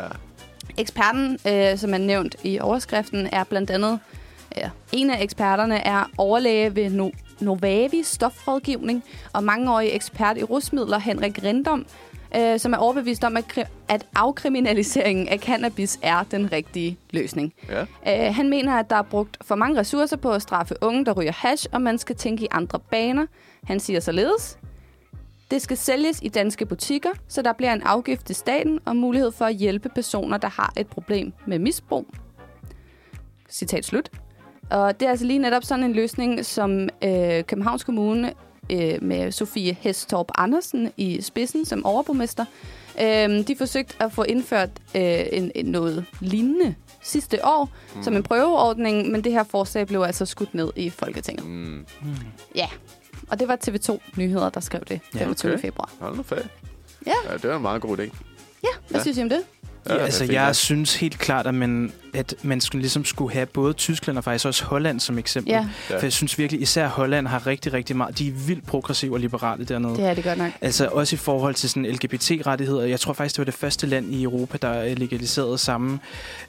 Eksperten, øh, som er nævnt i overskriften, er blandt andet... Ja, en af eksperterne er overlæge ved no- Novavi Stofrådgivning og mangeårig ekspert i rusmidler, Henrik Rindom, øh, som er overbevist om, at, kri- at afkriminaliseringen af cannabis er den rigtige løsning. Ja. Øh, han mener, at der er brugt for mange ressourcer på at straffe unge, der ryger hash, og man skal tænke i andre baner. Han siger således, det skal sælges i danske butikker, så der bliver en afgift til staten og mulighed for at hjælpe personer, der har et problem med misbrug. Citat slut. Og det er altså lige netop sådan en løsning, som øh, Københavns Kommune øh, med Sofie Hestorp Andersen i spidsen som overborgmester, øh, de forsøgte at få indført øh, en, en noget lignende sidste år mm. som en prøveordning, men det her forslag blev altså skudt ned i Folketinget. Mm. Ja, og det var TV2 Nyheder, der skrev det Ja, 25. Ja, okay. okay. februar. Hold nu fag. Ja. ja. det var en meget god idé. Ja, hvad ja. Ja. synes I om det? Ja, altså, perfekt, jeg ja. synes helt klart, at man, at man skulle, ligesom skulle have både Tyskland og faktisk også Holland som eksempel. Ja, For jeg synes virkelig, især Holland har rigtig, rigtig meget. De er vildt progressive og liberale dernede. det er det godt nok. Altså også i forhold til sådan LGBT-rettigheder. Jeg tror faktisk, det var det første land i Europa, der øh, legaliserede samme,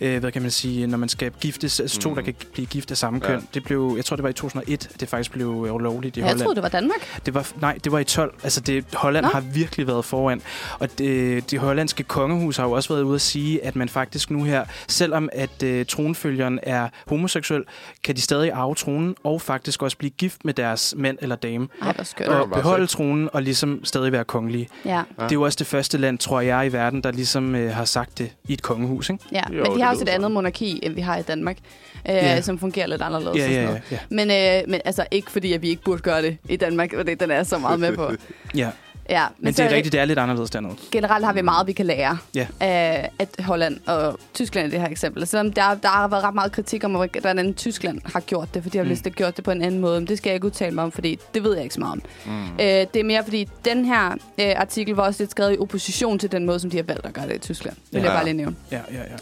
øh, hvad kan man sige, når man skal giftes, altså to, Mm. der kan blive gift af samme Ja. køn. Det blev, jeg tror, det var i 2001, at det faktisk blev øh, ulovligt i Jeg Holland. troede, det var Danmark. Det var, nej, det var i 12. Altså, det, Holland Nå. Nå. har virkelig været foran. Og det, det hollandske kongehus har jo også været ude at sige, at man faktisk nu her, selvom at øh, tronfølgeren er homoseksuel, kan de stadig arve tronen og faktisk også blive gift med deres mand eller dame. Ej, hvor skønt. Ja. Og beholde tronen og ligesom stadig være kongelige. Ja, Ja. Det er jo også det første land, tror jeg, i verden, der ligesom øh, har sagt det i et kongehus, ikke? ja. Jo, Men de det har også et lyder andet sådan. monarki, end vi har i Danmark, øh, Ja. som fungerer lidt anderledes. Ja, og sådan ja, ja. noget. ja. Men, øh, men altså ikke fordi, at vi ikke burde gøre det i Danmark, og det den er jeg så meget med på. ja. Ja, Men, Men så det er rigtigt, det er lidt anderledes dernede. generelt har vi meget, vi kan lære Ja. af at Holland og Tyskland i det her eksempel. Selvom der, der har været ret meget kritik om, hvordan Tyskland har gjort det, for de har Mm. mm. vist gjort det på en anden måde. Men det skal jeg ikke udtale mig om, fordi det ved jeg ikke så meget om. Mm. Øh, det er mere, fordi den her øh, artikel var også lidt skrevet i opposition til den måde, som de har valgt at gøre det i Tyskland. Vil Ja. ja. jeg bare lige nævne. Ja, ja, ja.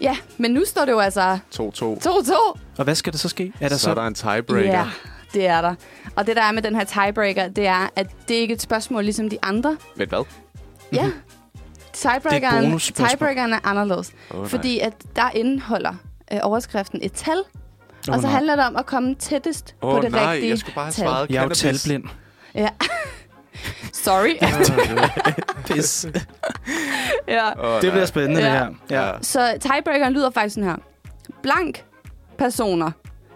Ja, men nu står det jo altså 2-2. 2-2. Og hvad skal der så ske? Er der Så er der en tiebreaker. Ja, det er der. Og det, der er med den her tiebreaker, det er, at det ikke er et spørgsmål ligesom de andre. Men hvad? Ja. Tiebreakeren, bonusspørgsmål. tiebreakeren er anderledes. Åh, nej. Fordi at der indeholder øh, overskriften et tal, Åh, og så nej. handler det om at komme tættest Åh på det nej, rigtige jeg skulle bare have tal. svaret Jeg er jo cannabis. talblind. Ja. Sorry. Pis. ja. Åh, Det nej. bliver spændende, Ja. det her. Ja. Ja. Så tiebreakeren lyder faktisk sådan her. Blank personer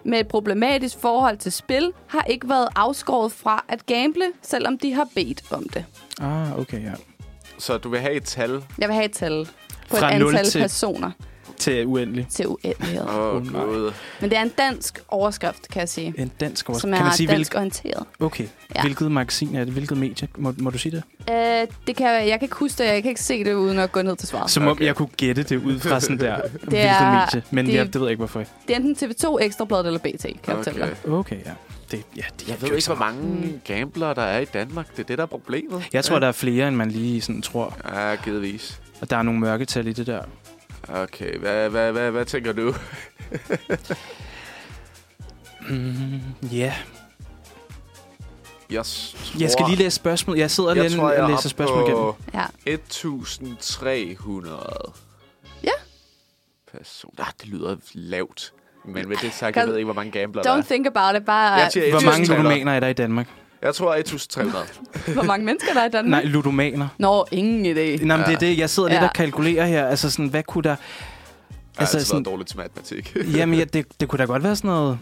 med et problematisk forhold til spil har ikke været afskåret fra at gamble, selvom de har bedt om det. Ah, okay, ja. Så du vil have et tal? Jeg vil have et tal på Fra et 0 antal til- personer Til uendelig. til uendelighed. Åh, oh, Åh, nej. gud. Men det er en dansk overskrift, kan jeg sige. En dansk overskrift. Som er Kan man sige, dansk hvilket, orienteret. okay. Ja. hvilket magasin er det? Hvilket medie? Må, må du sige det? Øh, det kan, jeg jeg kan ikke huske det, jeg kan ikke se det uden at gå ned til svaret. Som om jeg kunne gætte det ud fra sådan der, hvilket er- medie. Men det- jeg, det ved jeg ikke, hvorfor. Det er enten TV2, Ekstrabladet eller BT, kan jeg fortælle Okay. dig. Okay, ja. Det, ja det Jeg ved ikke, hvor mange gamblere der er i Danmark. Det er det, der er problemet. Jeg tror, der er flere, end man lige sådan tror. Ja, givetvis. Og der er nogle mørketal i det der. Okay, hvad, hvad, hvad, hvad tænker du? Mm, Mm-hmm. ja. Jeg, tror, Jeg skal lige læse spørgsmål. Jeg sidder jeg lige tror, jeg og er læser oppe spørgsmål igennem. på Ja. 1300 Ja. personer. Ah, det lyder lavt. Men med det sagt, Kan- jeg ved ikke, hvor mange gamblere der Don't er. think about it, bare Jeg siger Hvor mange 1300. ludomaner er der i Danmark? Jeg tror 1300. Altså, hvor mange mennesker der er i Danmark. Nej, ludomaner. Nå, ingen idé. Nej, men det er det. Jeg sidder lidt Ja. og kalkulerer her. Altså sådan, hvad kunne der... Jeg altså, har altid sådan- været dårlig til matematik. Jamen, ja, det, det kunne da godt være sådan noget...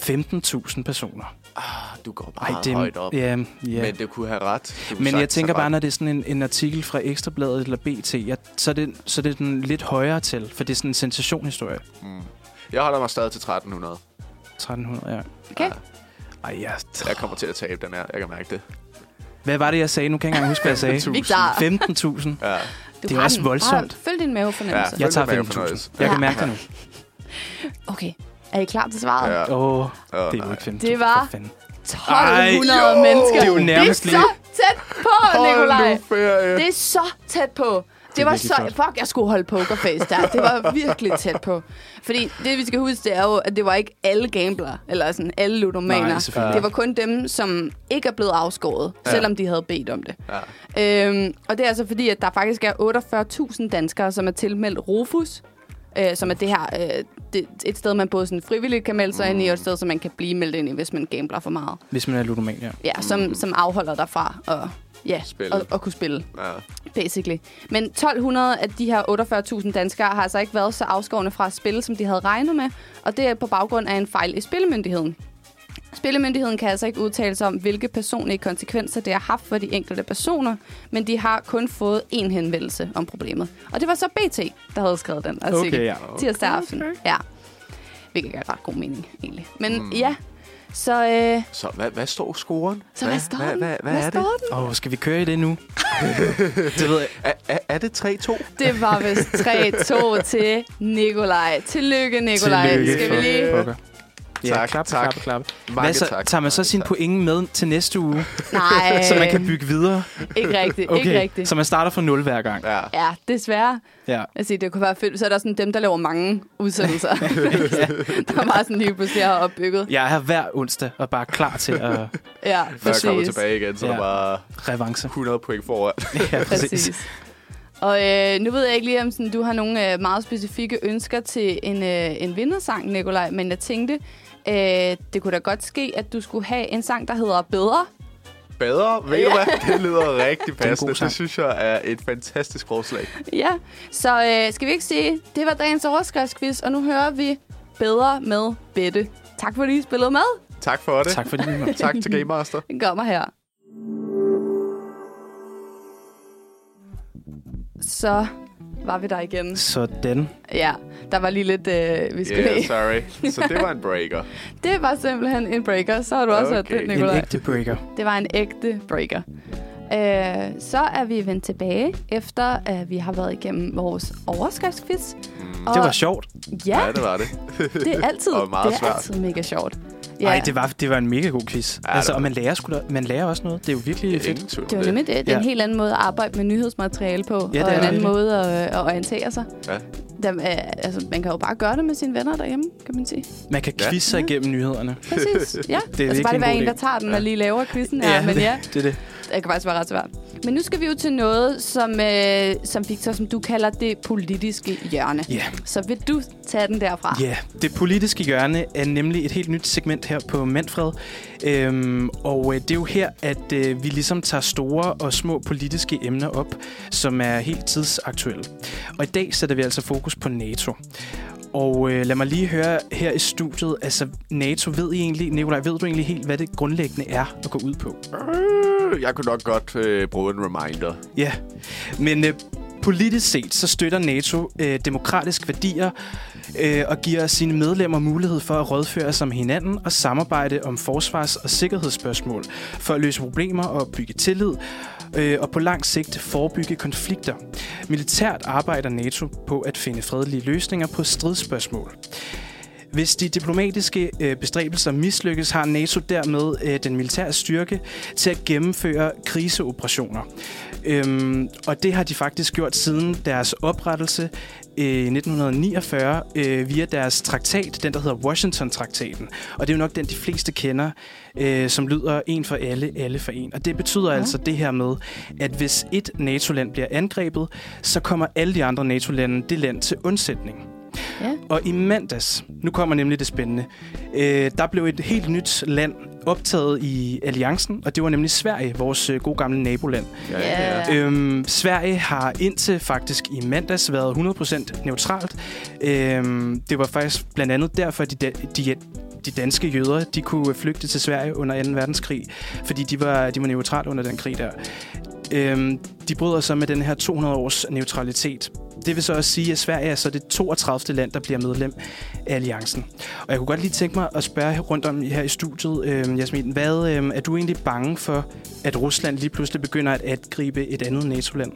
15.000 personer. Du går Ej, bare Ej, det er- Ah, højt op. Ja, ja. Men det kunne have ret. Du kunne Men jeg sagtens tænker have bare, ret. når det er sådan en, en artikel fra Ekstrabladet eller BT, jeg, så, er det, så er det den lidt højere til, for det er sådan en sensationhistorie. Jeg holder mig stadig til 1300. 1300, ja. Okay. Ah, Ej, ja. Jeg kommer til at tabe den her. Jeg kan mærke det. Hvad var det, jeg sagde? Nu kan jeg ikke engang huske, hvad jeg 15.000. sagde. Vi er klar. 15.000. Ja. Du Det er har også den. voldsomt. Bare Følg din mavefornemmelse. Ja. Jeg tager Det er en fornøjelse. 15.000. Jeg kan Ja. mærke det nu. Okay, er I klar til svaret? Ja. Åh, oh, Åh, det er jo nej. ikke 15.000. Det var- for fanden. 1200 Ej, jo! mennesker. Det er jo nærmest det er så tæt på, Nikolaj. Hold nu ferie. Det er så tæt på. Det, det var virkelig så... flot. Fuck, jeg skulle holde pokerface der. Det var virkelig tæt på. Fordi det, vi skal huske, det er jo, at det var ikke alle gambler, eller sådan alle Nej, ludomaner. selvfølgelig. det var kun dem, som ikke er blevet afskåret, ja. selvom de havde bedt om det. Ja. Øhm, og det er altså fordi, at der faktisk er 48.000 danskere, som er tilmeldt Rufus, øh, som er det her, øh, det, et sted, man både sådan frivilligt kan melde sig ind i, og et sted, som man kan blive meldt ind i, hvis man gambler for meget. Hvis man er ludoman, ja. Ja, som, mm. som afholder dig fra at, ja, Spille. at, at kunne spille Ja. basically. Men 1200 af de her 48.000 danskere har altså ikke været så afskårende fra at spille, som de havde regnet med, og det er på baggrund af en fejl i Spillemyndigheden. Spillemyndigheden kan altså ikke udtale sig om, hvilke personlige konsekvenser det har haft for de enkelte personer, men de har kun fået én henvendelse om problemet. Og det var så BT, der havde skrevet den artikel Okay, ja. tirsdag aften. Okay. Ja. Hvilket gør ret god mening, egentlig. Men mm. ja, så, øh, Så hvad, hvad står scoren? så hvad, hvad står den? Hvad, hvad, hvad, hvad er det? står den? Åh, oh, skal vi køre i det nu? det ved jeg. Er, er, er det 3-2? Det var vist 3-2 til Nikolaj. Tillykke, Nikolaj. Tillykke Skal vi for lige pokker. Tak, klap, tak. klap, klap. Mange Hvad så, tak. tager man så Mange sin tak. pointe med til næste uge, Nej, så man kan bygge videre? Øh, ikke rigtigt, okay. ikke rigtigt. så man starter fra nul hver gang. Ja. Ja, desværre. Ja. Altså, det kunne være fedt. Så er der sådan dem, der laver mange udsendelser. der var sådan lige pludselig har opbygget. Jeg er her hver onsdag og bare klar til at Ja, Før jeg kommer præcis. tilbage igen, så er der Ja. bare revanche. 100 point foran. Ja, Præcis. Og øh, nu ved jeg ikke lige, om sådan, du har nogle øh, meget specifikke ønsker til en, øh, en vindersang, Nikolaj, men jeg tænkte, øh, det kunne da godt ske, at du skulle have en sang, der hedder Bedre. Bedre, ved du hvad? Det lyder rigtig er en passende. god Det, sang. det synes jeg er et fantastisk forslag. Ja, så øh, skal vi ikke sige, det var dagens overskriftsquiz, og nu hører vi Bedre med Bette. Tak fordi I spillede med. Tak for det. Tak for din mand. tak til Game Master. Den kommer her. Så var vi der igen. Sådan. Ja, der var lige lidt, øh, vi skulle Yeah, yeah, sorry. Så det var en breaker. Det var simpelthen en breaker. Så har du også hørt Okay. det, En En Nicolaj. ægte breaker. Det var en ægte breaker. Øh, så er vi vendt tilbage, efter at vi har været igennem vores overskriftsquiz. Det var sjovt. Mm, Ja, Ja, det var det. det er altid, Og meget det er svært. altid mega sjovt. Ja, Nej, det var, det var en mega god quiz. Ja, det altså, var og man det. lærer, sgu da, man lærer også noget. Det er jo virkelig fedt. Ingen tvivl det om var det. nemlig det. Det er en Ja. helt anden måde at arbejde med nyhedsmateriale på, det og er en det. anden måde at, at orientere sig. Ja. Der, øh, altså, man kan jo bare gøre det med sine venner derhjemme, kan man sige. Man kan Ja. quizze sig igennem nyhederne. Præcis, ja. virkelig altså bare en det være god en, der idé. tager den og lige laver quizzen her, men det, ja. det er det. Det kan faktisk være ret svært. Men nu skal vi jo til noget, som, øh, som Victor, som du kalder det politiske hjørne. Ja. Så vil du tage den derfra? Ja, det politiske hjørne er nemlig et helt nyt segment her på Manfred. Øhm, og øh, det er jo her, at øh, vi ligesom tager store og små politiske emner op, som er helt tidsaktuelle. Og i dag sætter vi altså fokus på NATO. Og øh, lad mig lige høre her i studiet, altså NATO, ved I egentlig, Nikolaj, ved du egentlig helt, hvad det grundlæggende er at gå ud på? Øh, Jeg kunne nok godt øh, bruge en reminder. Ja, men øh, politisk set, så støtter NATO øh, demokratiske værdier øh, og giver sine medlemmer mulighed for at rådføre sig med hinanden og samarbejde om forsvars- og sikkerhedsspørgsmål for at løse problemer og bygge tillid øh, og på lang sigt forebygge konflikter. Militært arbejder NATO på at finde fredelige løsninger på stridsspørgsmål. Hvis de diplomatiske øh, bestræbelser mislykkes, har NATO dermed øh, den militære styrke til at gennemføre kriseoperationer. Øhm, og det har de faktisk gjort siden deres oprettelse øh, 1949 øh, via deres traktat, den der hedder Washington-traktaten. Og det er jo nok den, de fleste kender, øh, som lyder en for alle, alle for en. Og det betyder ja. altså det her med, at hvis et NATO-land bliver angrebet, så kommer alle de andre NATO-lande det land til undsætning. ja. Og i mandags, nu kommer nemlig det spændende, øh, der blev et helt nyt land optaget i alliancen, og det var nemlig Sverige, vores øh, gode gamle naboland. Ja, Ja. Øhm, Sverige har indtil faktisk i mandags været 100% neutralt. Øhm, det var faktisk blandt andet derfor, at de, de, de danske jøder de kunne flygte til Sverige under 2. verdenskrig, fordi de var, de var neutrale under den krig der. Øhm, de bryder så med den her 200-års neutralitet. Det vil så også sige, at Sverige er så det 32. land, der bliver medlem af alliancen. Og jeg kunne godt lige tænke mig at spørge rundt om her i studiet, øhm, Jasmin, hvad øhm, er du egentlig bange for, at Rusland lige pludselig begynder at angribe et andet NATO-land?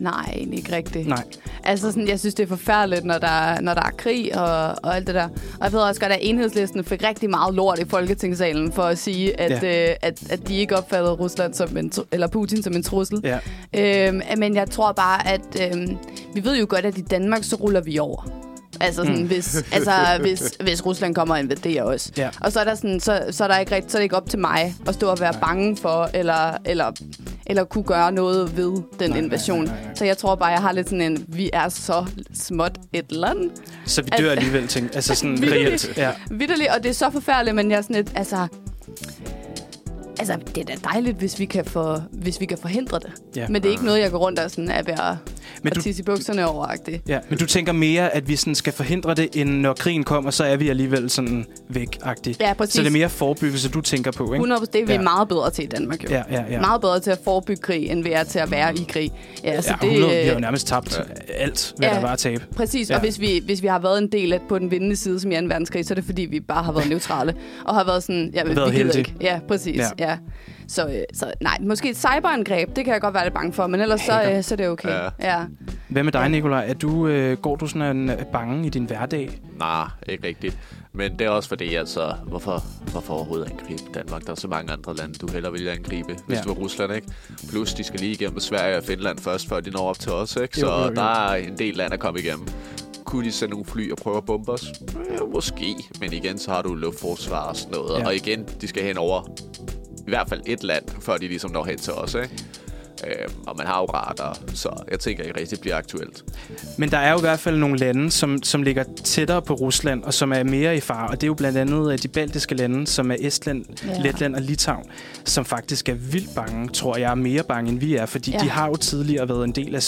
Nej, egentlig ikke rigtigt. Nej. Altså, sådan, jeg synes, det er forfærdeligt, når der, er- når der er krig og, og alt det der. Og jeg ved også godt, at enhedslisten fik rigtig meget lort i Folketingssalen for at sige, at, ja. øh, at, at de ikke opfattede Rusland som en, tru- eller Putin som en trussel. Ja. Øhm, men jeg tror bare, at øhm, vi ved jo godt, at i Danmark, så ruller vi over. Altså, sådan, mm. hvis, altså hvis, hvis Rusland kommer og invaderer os. Ja. Og så er, der sådan, så, så, er der ikke rigt, så er det ikke op til mig at stå og være nej. bange for, eller, eller, eller kunne gøre noget ved den nej, invasion. Nej, nej, nej. Så jeg tror bare, jeg har lidt sådan en, vi er så småt et land. Så vi At- dør alligevel, ting. Altså sådan Virkelig. reelt. Ja. Vitterligt, og det er så forfærdeligt, men jeg er sådan lidt, altså... Altså, det er da dejligt, hvis vi kan, for, hvis vi kan forhindre det. Ja. Men det er ikke noget, jeg går rundt og sådan er ved at, Men at du- tisse i bukserne over -agtigt. Ja, men du tænker mere, at vi sådan skal forhindre det, end når krigen kommer, så er vi alligevel sådan væk -agtig. Ja, præcis. Så det er mere forebyggelse, du tænker på, ikke? 100 det er vi Ja. ja. meget bedre til i Danmark jo. Ja, ja, ja. Meget bedre til at forebygge krig, end vi er til at være i krig. Ja, så ja, 100, det, vi har jo øh, nærmest tabt ja. alt, hvad Ja. ja. der var at tabe. Præcis, Ja. og hvis vi, hvis vi har været en del af på den vindende side, som i 2. verdenskrig, så er det fordi, vi bare har været neutrale. Og har været sådan, ja, vi gider Været heldige. ikke. Ja, præcis. Ja. Ja. Ja. Så, øh, så nej, måske et cyberangreb, det kan jeg godt være lidt bange for, men ellers så, Hacker. øh, så er det okay. Ja. Ja. ja. Hvad med dig, Nikolaj? Er du, øh, går du sådan øh, bange i din hverdag? Nej, ikke rigtigt. Men det er også fordi, altså, hvorfor, hvorfor overhovedet angribe Danmark? Der er så mange andre lande, du heller ville angribe, hvis Ja. ja. det var Rusland, ikke? Plus, de skal lige igennem Sverige og Finland først, før de når op til os, ikke? Jo, Så jo, jo. der er en del lande at komme igennem. Kunne de sende nogle fly og prøve at bombe os? Øh, måske, men igen, så har du luftforsvar og sådan noget. Ja. Ja. Og igen, de skal hen over i hvert fald et land, før de ligesom når hen til os, ikke? Øh, og man har jo radar, så jeg tænker ikke rigtig det bliver aktuelt. Men der er jo i hvert fald nogle lande, som, som ligger tættere på Rusland, og som er mere i fare. Og det er jo blandt andet øh, de baltiske lande, som er Estland, Ja. ja. Letland og Litauen, som faktisk er vildt bange, tror jeg, er mere bange, end vi er. Fordi Ja. ja. de har jo tidligere været en del af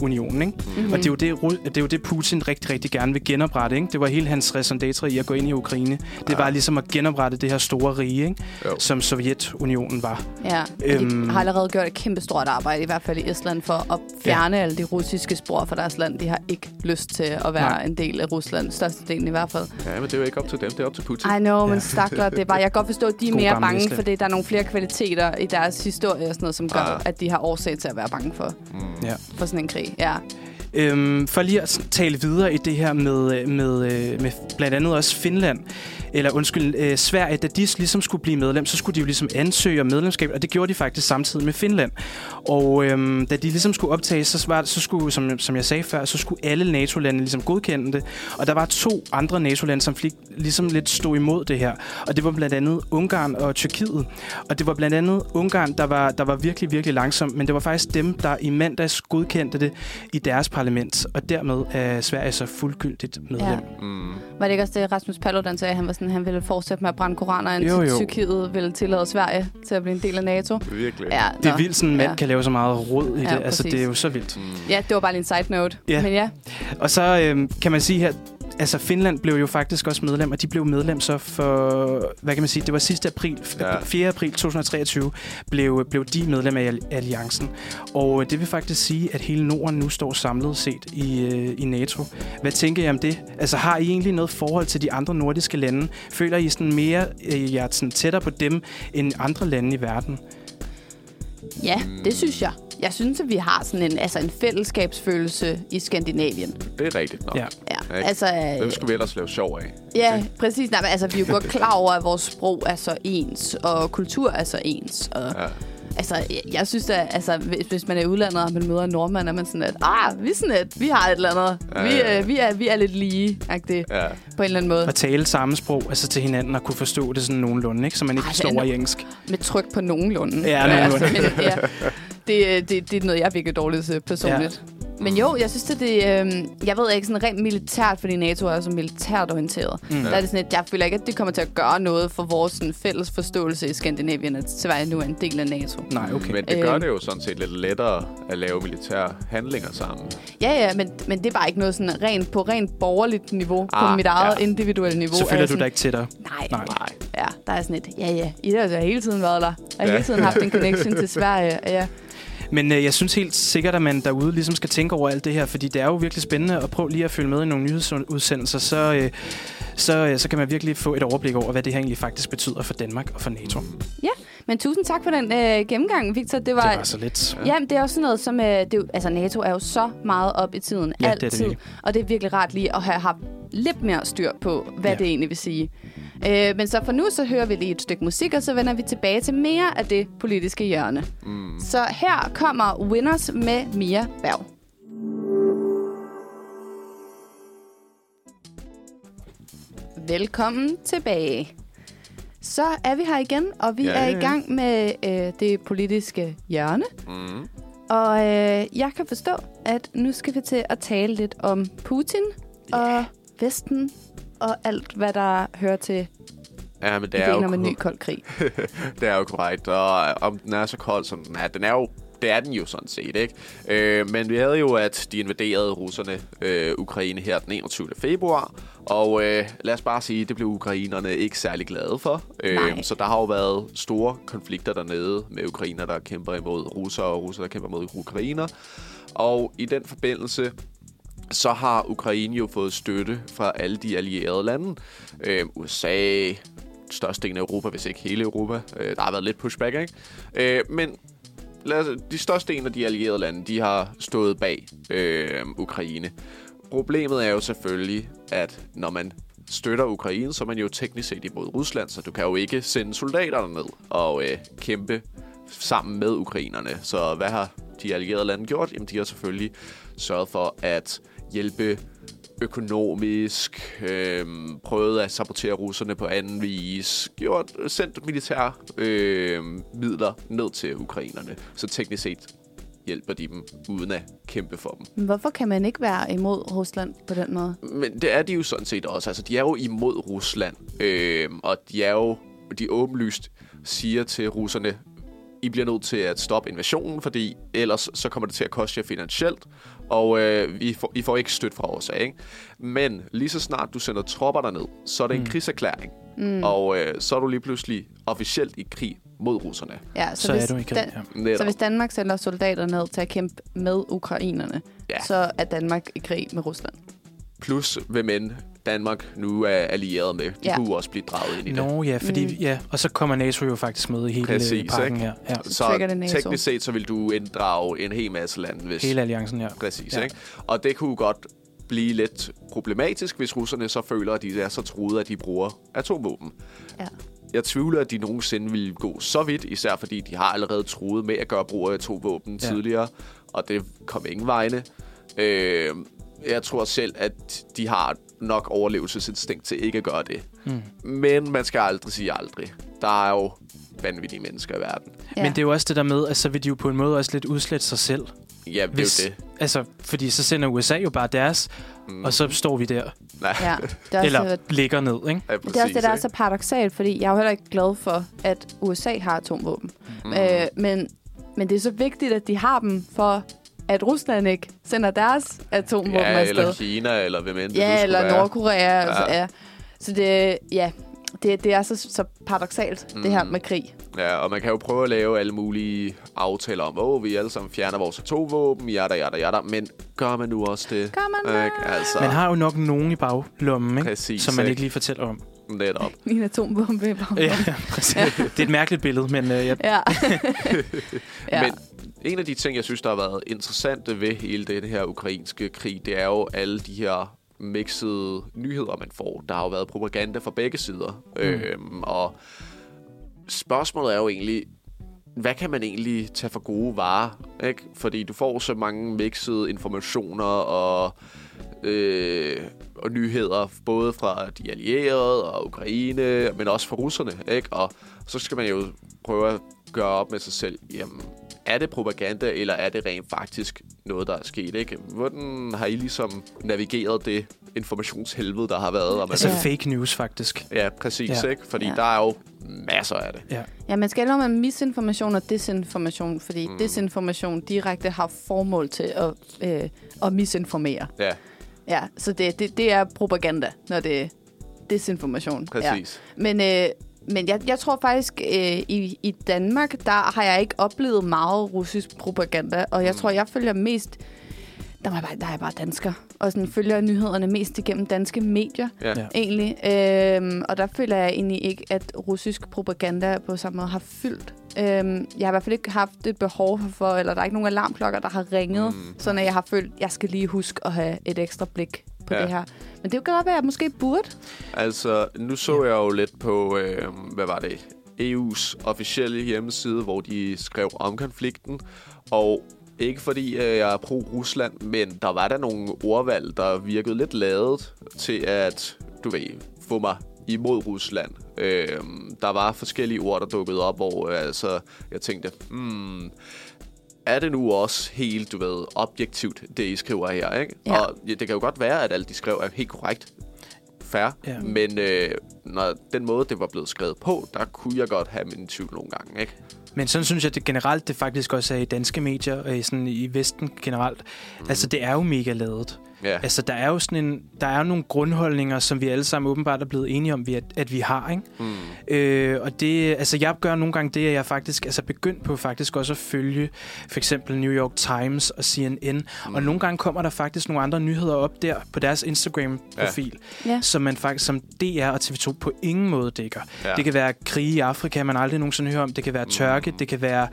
Sovjetunionen. Ikke? Mm-hmm. Og det er, jo det, Ru- det er jo det, Putin rigtig, rigtig gerne vil genoprette. Ikke? Det var hele hans raison d'etre i at gå ind i Ukraine. Det var ligesom at genoprette det her store rige, ikke? Jo. som Sovjetunionen var. Ja, øhm. Øhm. de har allerede gjort et kæmpe stort arbejde, i hvert fald i Estland, for at fjerne ja. alle de russiske spor fra deres land. De har ikke lyst til at være Nej. Nej. en del af Rusland, størstedelen i hvert fald. Ja, men det er jo ikke op til dem, det er op til Putin. I know, ja. men Ja. stakler, det er bare, jeg kan godt forstå, at de er God mere gammel bange, Estland. fordi der er nogle flere kvaliteter i deres historie og sådan noget, som gør, Ah. at de har årsag til at være bange for, Ja. for sådan en krig. Ja. Øhm, for lige at s- tale videre i det her med, øh, med, øh, med blandt andet også Finland, eller undskyld, øh, Sverige, da de ligesom skulle blive medlem, så skulle de jo ligesom ansøge om medlemskab, og det gjorde de faktisk samtidig med Finland. Og øhm, da de ligesom skulle optages, så, var, så skulle, som, som jeg sagde før, så skulle alle NATO-lande ligesom godkende det, og der var to andre NATO-lande, som fik, ligesom lidt stod imod det her, og det var blandt andet Ungarn og Tyrkiet, og det var blandt andet Ungarn, der var, der var virkelig, virkelig langsom, men det var faktisk dem, der i mandags godkendte det i deres parlament, og dermed er Sverige så fuldgyldigt medlem. Ja. Ja. Mm. Var det ikke også det, Rasmus Paludan sagde, at han, var sådan, han ville fortsætte med at brænde koraner, indtil Jo, jo, jo. jo. Tyrkiet ville tillade Sverige til at blive en del af NATO? Virkelig. Ja, Det er nå. vildt, sådan en mand Ja. ja. kan lave så meget råd i Ja, ja, det. Altså, præcis. det er jo så vildt. Mm. Ja, det var bare lige en side note. Ja. Men ja, Og så øhm, kan man sige her, altså Finland blev jo faktisk også medlem, og de blev medlem så for, hvad kan man sige, det var sidste april, Ja. ja. 4. april 2023, blev, blev de medlem af al- alliancen. Og øh, det vil faktisk sige, at hele Norden nu står samlet set i, øh, i NATO. Hvad tænker I om det? Altså har I egentlig noget forhold til de andre nordiske lande? Føler I sådan mere, øh, jer sådan tættere på dem end andre lande i verden? ja det synes jeg. Jeg synes, at vi har sådan en, altså en fællesskabsfølelse i Skandinavien. Det er rigtigt nok. Ja. Ja, Ikke? altså, Hvem skulle vi ellers lave sjov af? ja præcis. Nej, men, altså, vi er jo godt klar over, at vores sprog er så ens, og kultur er så ens. Og, ja. Ja. Altså, jeg, jeg synes at altså, hvis, hvis man er i udlandet, og man møder en nordmand, er man sådan at, ah, vi er sådan at, vi har et eller andet. Ja, vi, ja, ja. øh, vi, er, vi er lidt lige, agtigt, ja. Ja. på en eller anden måde. At tale samme sprog altså til hinanden og kunne forstå det sådan nogenlunde, ikke? så man ikke Ej, det er forstår no- i engelsk. Med tryk på nogenlunde. Ja, nogenlunde. men, ja. Det, øh, det, det er noget, jeg er virkelig dårlig til personligt. Ja. Men jo, jeg synes, at det... Øh, jeg ved ikke, sådan rent militært, fordi NATO er så militært orienteret. Mm. Der er det sådan, at jeg føler ikke, at det kommer til at gøre noget for vores sådan, fælles forståelse i Skandinavien, at Sverige nu er en del af NATO. Nej, okay. Men det gør Øhm. det jo sådan set lidt lettere at lave militære handlinger sammen. Ja, ja, men, men det er bare ikke noget sådan rent, på rent borgerligt niveau, ah, på Ah, mit eget ja. ja. individuelle niveau. Så er føler jeg du dig ikke til dig. Nej, nej. Nej. Nej. Ja, der er sådan et, ja, ja, I har altså hele tiden været der. Og ja. Ja. hele tiden haft en connection til Sverige. Ja. Men øh, jeg synes helt sikkert, at man derude ligesom skal tænke over alt det her, fordi det er jo virkelig spændende at prøve lige at følge med i nogle nyhedsudsendelser, så, øh, så, øh, så kan man virkelig få et overblik over, hvad det her egentlig faktisk betyder for Danmark og for NATO. Det Ja, men tusind tak for den øh, gennemgang, Victor. Det var, var så lidt. Ja. Jamen, det er også sådan noget, som... Øh, det, er jo- altså, NATO er jo så meget op i tiden. Ja, det er det altid. virkelig. og det er virkelig rart lige at have haft lidt mere styr på, hvad ja. Ja. det egentlig vil sige. Øh, men så for nu, så hører vi lige et stykke musik, og så vender vi tilbage til mere af det politiske hjørne. Mm. Så her kommer Winners med Mia Berg. Velkommen tilbage. Så er vi her igen, og vi Ja, er i ja, ja. gang med øh, det politiske hjørne. Mm. Og øh, jeg kan forstå, at nu skal vi til at tale lidt om Putin yeah. og Vesten og alt, hvad der hører til Ja, men det er, ideen jo, om en ny kor- kold krig. det er jo korrekt. Og øh, om den er så kold, som den er, den er jo det er den jo sådan set, ikke? Øh, men vi havde jo, at de invaderede russerne øh, Ukraine her den 21. februar, og øh, lad os bare sige, det blev ukrainerne ikke særlig glade for. Nej. Øh, så der har jo været store konflikter dernede med ukrainer, der kæmper imod russere, og russere, der kæmper imod ukrainer. Og i den forbindelse, så har Ukraine jo fået støtte fra alle de allierede lande. Øh, USA, størstedelen af Europa, hvis ikke hele Europa. Øh, der har været lidt pushback, ikke? Øh, men lad os, de største en af de allierede lande, de har øhm, stået bag øh, Ukraine. Problemet er jo selvfølgelig, at når man støtter Ukraine, så er man jo teknisk set imod Rusland, så du kan jo ikke sende soldaterne ned og øh, kæmpe sammen med ukrainerne. Så hvad har de allierede lande gjort? Jamen, de har selvfølgelig sørget for at hjælpe økonomisk, øh, prøvet at sabotere russerne på anden vis, gjort, sendt militære øh, midler ned til ukrainerne. Så teknisk set hjælper de dem, uden at kæmpe for dem. Men hvorfor kan man ikke være imod Rusland på den måde? Men det er de jo sådan set også. Altså, de er jo imod Rusland, øh, og de er jo de åbenlyst siger til russerne, I bliver nødt til at stoppe invasionen, fordi ellers så kommer det til at koste jer finansielt, og øh, I, får, I får ikke støtte fra USA, ikke? Men lige så snart du sender tropper derned, så er det en krigserklæring, mm. og øh, så er du lige pludselig officielt i krig mod russerne. Ja, så, Så er hvis du ikke Dan- rigtig, Netop. Så hvis Danmark sender soldater ned til at kæmpe med ukrainerne, Ja. ja. så er Danmark i krig med Rusland. Plus, hvem end Danmark nu er allieret med. De ja. Ja. kunne også blive draget ind i det. Nå ja, fordi, mm. ja, og så kommer NATO jo faktisk med i hele Præcis, Præcis, pakken ikke? her. Ja. Så trigger det NATO. teknisk set, så vil du inddrage en hel masse lande, hvis... Hele alliancen, ja. Præcis, ja. Ja. ikke? Og det kunne godt blive lidt problematisk, hvis russerne så føler, at de er så troede, at de bruger atomvåben. Ja. Jeg tvivler, at de nogensinde ville gå så vidt, især fordi de har allerede troet med at gøre brug af atomvåben ja. Ja. tidligere, og det kom ingen vegne. Øh, jeg tror selv, at de har nok overlevelsesinstinkt til ikke at gøre det. Mm. Men man skal aldrig sige aldrig. Der er jo vanvittige mennesker i verden. Ja. Men det er jo også det der med, at så vil de jo på en måde også lidt udslætte sig selv. Ja, det Hvis, er jo det. Altså, fordi så sender USA jo bare deres, mm. og så står vi der. Nej. Ja, det er, Eller også, ligger ned, ikke? Ja, det er også det, der er ikke? så paradoxalt, fordi jeg er jo heller ikke glad for, at USA har atomvåben. Mm. Øh, men, men det er så vigtigt, at de har dem, for at Rusland ikke sender deres atomvåben Ja, afsted. eller Kina, eller hvem end det nu ja, skulle eller være. Nordkorea. Ja. Altså, Ja. ja. Så det, ja, det, det er så, så paradoxalt, mm. det her med krig. Ja, og man kan jo prøve at lave alle mulige aftaler om, åh, vi alle sammen fjerner vores atomvåben, jada, jada, jada, men gør man nu også det? Gør man Ikke? det? Altså, Man har jo nok nogen i baglommen, ikke? Præcis, som man ikke? ikke lige fortæller om. netop. Min atombombe. i baggrunden. Ja, præcis. det er et mærkeligt billede, men øh, jeg, Ja. Ja. ja. Men en af de ting, jeg synes, der har været interessante ved hele den her ukrainske krig, det er jo alle de her mixede nyheder, man får. Der har jo været propaganda fra begge sider. Mm. Øhm, og spørgsmålet er jo egentlig, hvad kan man egentlig tage for gode varer? Ikke? Fordi du får så mange mixede informationer og, øh, og nyheder, både fra de allierede og Ukraine, men også fra russerne. Ikke? Og så skal man jo prøve at gøre op med sig selv, jamen, er det propaganda, eller er det rent faktisk noget, der er sket? Ikke? Hvordan har I ligesom navigeret det informationshelvede, der har været? Og man altså Ja. fake news, faktisk. Ja, præcis, ja. Ja. ikke? Fordi ja. Ja. der er jo masser af det. Ja. ja, man skal ændre med misinformation og desinformation, fordi mm. desinformation direkte har formål til at, øh, at misinformere. Ja, Ja, så det, det, det er propaganda, når det er desinformation. Præcis. Ja. Men, øh, men jeg, jeg tror faktisk, øh, i, i Danmark, der har jeg ikke oplevet meget russisk propaganda, og jeg mm. tror, jeg følger mest... Der er, jeg bare, der er jeg bare dansker, og sådan følger nyhederne mest igennem danske medier, ja. ja. Ja. egentlig. Øhm, og der føler jeg egentlig ikke, at russisk propaganda på samme måde har fyldt. Øhm, jeg har i hvert fald ikke haft et behov for, eller der er ikke nogen alarmklokker, der har ringet, mm. sådan at jeg har følt, at jeg skal lige huske at have et ekstra blik på Ja. ja. det her. Men det kan godt være, at jeg måske burde. Altså, nu så jeg jo lidt på, øh, hvad var det, EU's officielle hjemmeside, hvor de skrev om konflikten, og ikke fordi øh, jeg er pro-Rusland, men der var der nogle ordvalg, der virkede lidt ladet til at, du ved, få mig imod Rusland. Øh, der var forskellige ord, der dukkede op, hvor øh, altså, jeg tænkte, hmm, er det nu også helt, du ved, objektivt, det I skriver her, ikke? Ja. Og ja, det kan jo godt være, at alt, de skrev, er helt korrekt, fair, ja. Ja. men øh, når den måde, det var blevet skrevet på, der kunne jeg godt have min tvivl nogle gange, ikke? Men sådan synes jeg det generelt, det faktisk også er i danske medier, og i, sådan, i Vesten generelt. Mm. Altså, det er jo mega ladet. Ja. Altså, der er jo sådan en, der er jo nogle grundholdninger, som vi alle sammen åbenbart er blevet enige om, vi at, at vi har, ikke? Mm. Øh, og det, altså, jeg gør nogle gange det, at jeg faktisk, altså, begyndt på faktisk også at følge for eksempel New York Times og CNN, mm. og nogle gange kommer der faktisk nogle andre nyheder op der på deres Instagram-profil, Ja. som man faktisk som DR og TV2 på ingen måde dækker. Ja. Ja. Det kan være krige i Afrika, man aldrig nogensinde hører om. Det kan være tørke, det kan være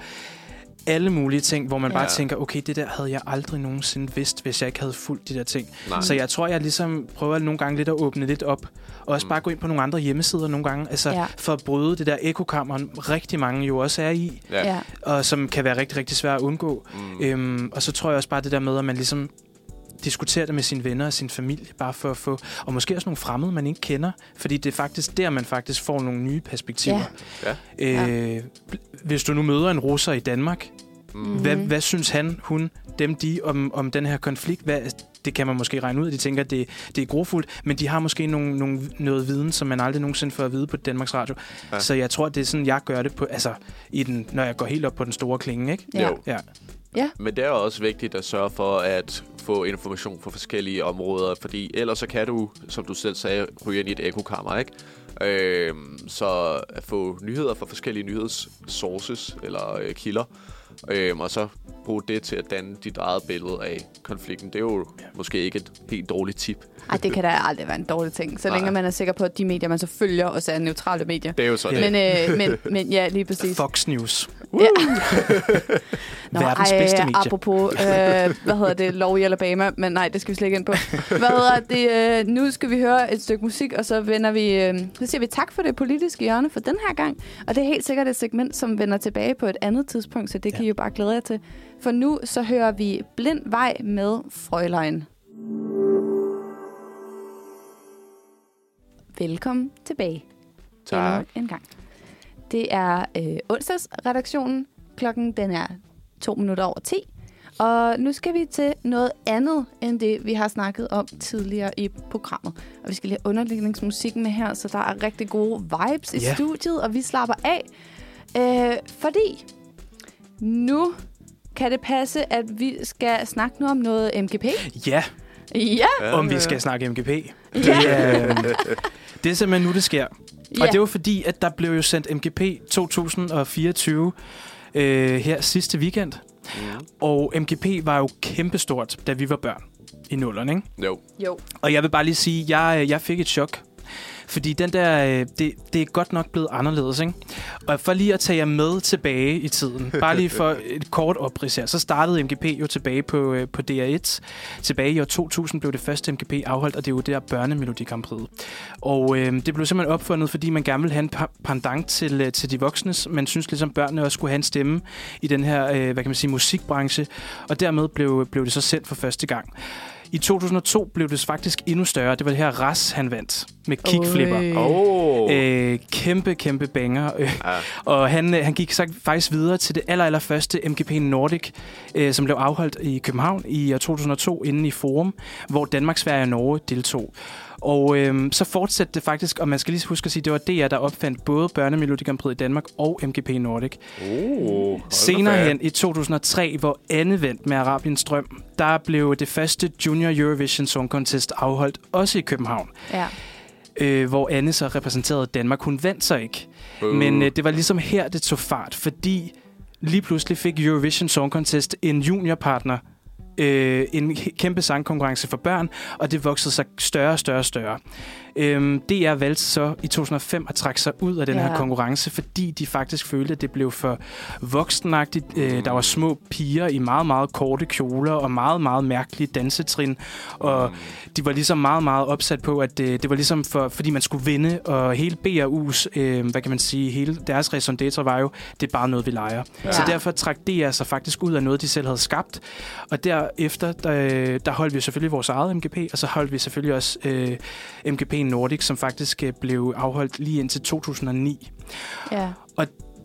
alle mulige ting, hvor man bare Mm. Ja. tænker, okay, det der havde jeg aldrig nogensinde vidst, hvis jeg ikke havde fulgt de der ting. Nej. Så jeg tror, jeg ligesom prøver nogle gange lidt at åbne lidt op. Og også Mm. bare gå ind på nogle andre hjemmesider nogle gange. Altså Ja. ja. for at bryde det der ekokammer, rigtig mange jo også er i. Ja. ja. ja. Og som kan være rigtig, rigtig svært at undgå. Mm. Øhm, og så tror jeg også bare det der med, at man ligesom diskuterer det med sine venner og sin familie, bare for at få... Og måske også nogle fremmede, man ikke kender. Fordi det er faktisk der, man faktisk får nogle nye perspektiver. Ja. Øh, Hvis du nu møder en russer i Danmark, Mm. hvad, Mhm. hvad synes han, hun, dem, de om, om den her konflikt? Hvad, det kan man måske regne ud, at de tænker, at det, det er grofuldt, men de har måske nogle, nogle, noget viden, som man aldrig nogensinde får at vide på Danmarks Radio. Ja. Ja. Så jeg tror, det er sådan, jeg gør det, på, altså, i den, når jeg går helt op på den store klinge. Ikke? Ja. Jo. Ja. Men det er også vigtigt at sørge for at få information fra forskellige områder, fordi ellers så kan du, som du selv sagde, ryge ind i et ekokammer, ikke? Øhm, så at få nyheder fra forskellige nyhedssources eller øh, kilder, øhm, og så bruge det til at danne dit eget billede af konflikten. Det er jo måske ikke et helt dårligt tip. Ej, det kan da aldrig være en dårlig ting, så Nej. længe man er sikker på, at de medier, man så følger, også er neutrale medier. Det er jo sådan. Men, øh, men, men ja, lige præcis. Fox News. Ja. Uh. Nå, Verdens bedste medie. apropos, øh, hvad hedder det, lov i Alabama, men nej, det skal vi slet ikke ind på. Hvad hedder det, øh, nu skal vi høre et stykke musik, og så vender vi, øh, så siger vi tak for det politiske hjørne for den her gang. Og det er helt sikkert et segment, som vender tilbage på et andet tidspunkt, så det ja. kan I jo bare glæde jer til. For nu så hører vi Blind Vej med Frølein. Velkommen tilbage tak. endnu en gang. Det er øh, onsdagsredaktionen. Klokken den er to minutter over 10. Og nu skal vi til noget andet end det, vi har snakket om tidligere i programmet. Og vi skal lige have underlægningsmusikken med her, så der er rigtig gode vibes i Ja. studiet, og vi slapper af. Øh, fordi nu kan det passe, at vi skal snakke nu om noget MGP. Ja, Ja! om vi skal snakke MGP. Det, Ja. er, øh, det er simpelthen nu, det sker. Ja. Og Ja. det var fordi, at der blev jo sendt MGP 2024 øh, her sidste weekend. Mm. Og MGP var jo kæmpestort, da vi var børn i nullerne, ikke? Jo. Jo. Og jeg vil bare lige sige, at jeg, øh, jeg fik et chok. Fordi den der, øh, det, det er godt nok blevet anderledes, ikke? Og for lige at tage jer med tilbage i tiden, bare lige for et kort oprids her, så startede MGP jo tilbage på, øh, på DR1. Tilbage i år 2000 blev det første MGP afholdt, og det er jo det der børnemelodikampriet. Og øh, det blev simpelthen opfundet, fordi man gerne ville have en pa- pendant til, øh, til de voksnes. Man synes ligesom, børnene også skulle have en stemme i den her, øh, hvad kan man sige, musikbranche. Og dermed blev, blev det så sendt for første gang. I 2002 blev det faktisk endnu større. Det var det her Ras, han vandt med kickflipper. Øj. Oh. Øh, kæmpe, kæmpe banger. Ja. og han, øh, han gik så faktisk videre til det aller, aller første MGP Nordic, øh, som blev afholdt i København i år 2002 inden i Forum, hvor Danmark, Sverige og Norge deltog. Og øhm, så fortsatte det faktisk, og man skal lige huske at sige, det var DR, der opfandt både Børnemelodikampriet i Danmark og MGP Nordic. Oh. Senere hen i 2003, hvor Anne vendte med Arabiens Drøm, der blev det første Junior Eurovision Song Contest afholdt også i København, Ja. øh, hvor Anne så repræsenterede Danmark. Hun vandt så ikke, men øh, det var ligesom her, det tog fart, fordi lige pludselig fik Eurovision Song Contest en juniorpartner, øh, en he- kæmpe sangkonkurrence for børn, og det voksede sig større og større og større. Øhm, DR valgte så i 2005 at trække sig ud af den Ja. her konkurrence, fordi de faktisk følte, at det blev for voksenagtigt. Øh, der var små piger i meget, meget korte kjoler og meget, meget mærkelige dansetrin, og de var ligesom meget, meget opsat på, at øh, det var ligesom for, fordi man skulle vinde, og hele BRU's, øh, hvad kan man sige, hele deres raison d'etre var jo, det er bare noget, vi leger. Ja. Ja. Så derfor trak DR sig faktisk ud af noget, de selv havde skabt, og derefter, der, der holdt vi selvfølgelig vores eget MGP, og så holdt vi selvfølgelig også øh, MGP Nordic, som faktisk øh, blev afholdt lige indtil 2009 Ja.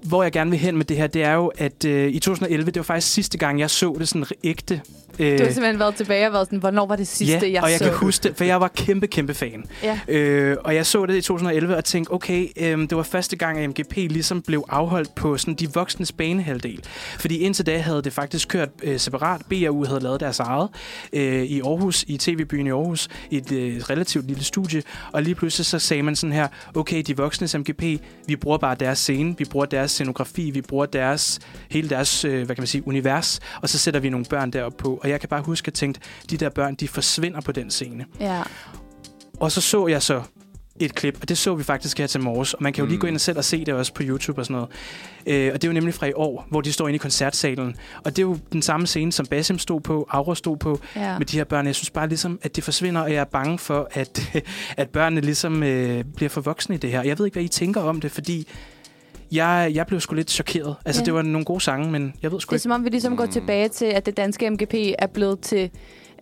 hvor jeg gerne vil hen med det her, det er jo, at øh, i 2011, det var faktisk sidste gang, jeg så det sådan ægte. Øh, Du har simpelthen været tilbage og været sådan, hvornår var det sidste, ja, jeg og jeg så? kan huske det, for jeg var kæmpe, kæmpe fan. ja. Øh, og jeg så det i 2011 og tænkte, okay, øh, det var første gang, at MGP ligesom blev afholdt på sådan de voksnes banehalvdel. Fordi indtil da havde det faktisk kørt øh, separat. BRU havde lavet deres eget øh, i Aarhus, i tv-byen i Aarhus, i et øh, relativt lille studie. Og lige pludselig så sagde man sådan her, okay, de voksnes MGP, vi bruger bare deres scene, vi bruger deres scenografi, vi bruger deres, hele deres, øh, hvad kan man sige, univers, og så sætter vi nogle børn derop på. Og jeg kan bare huske at tænke, de der børn, de forsvinder på den scene. Ja. Og så så jeg så et klip, og det så vi faktisk her til morges. Og man kan jo lige gå ind og selv og se det også på YouTube og sådan noget. Øh, og det er jo nemlig fra i år, hvor de står inde i koncertsalen. Og det er jo den samme scene, som Basim stod på, Aura stod på, Ja. med de her børn. Jeg synes bare ligesom, at det forsvinder, og jeg er bange for, at, at børnene ligesom øh, bliver for voksne i det her. Jeg ved ikke, hvad I tænker om det, fordi jeg, jeg blev sgu lidt chokeret. Altså, Ja. ja. det var nogle gode sange, men jeg ved sgu Det er ikke. som om, vi ligesom Mm. går tilbage til, at det danske MGP er blevet til,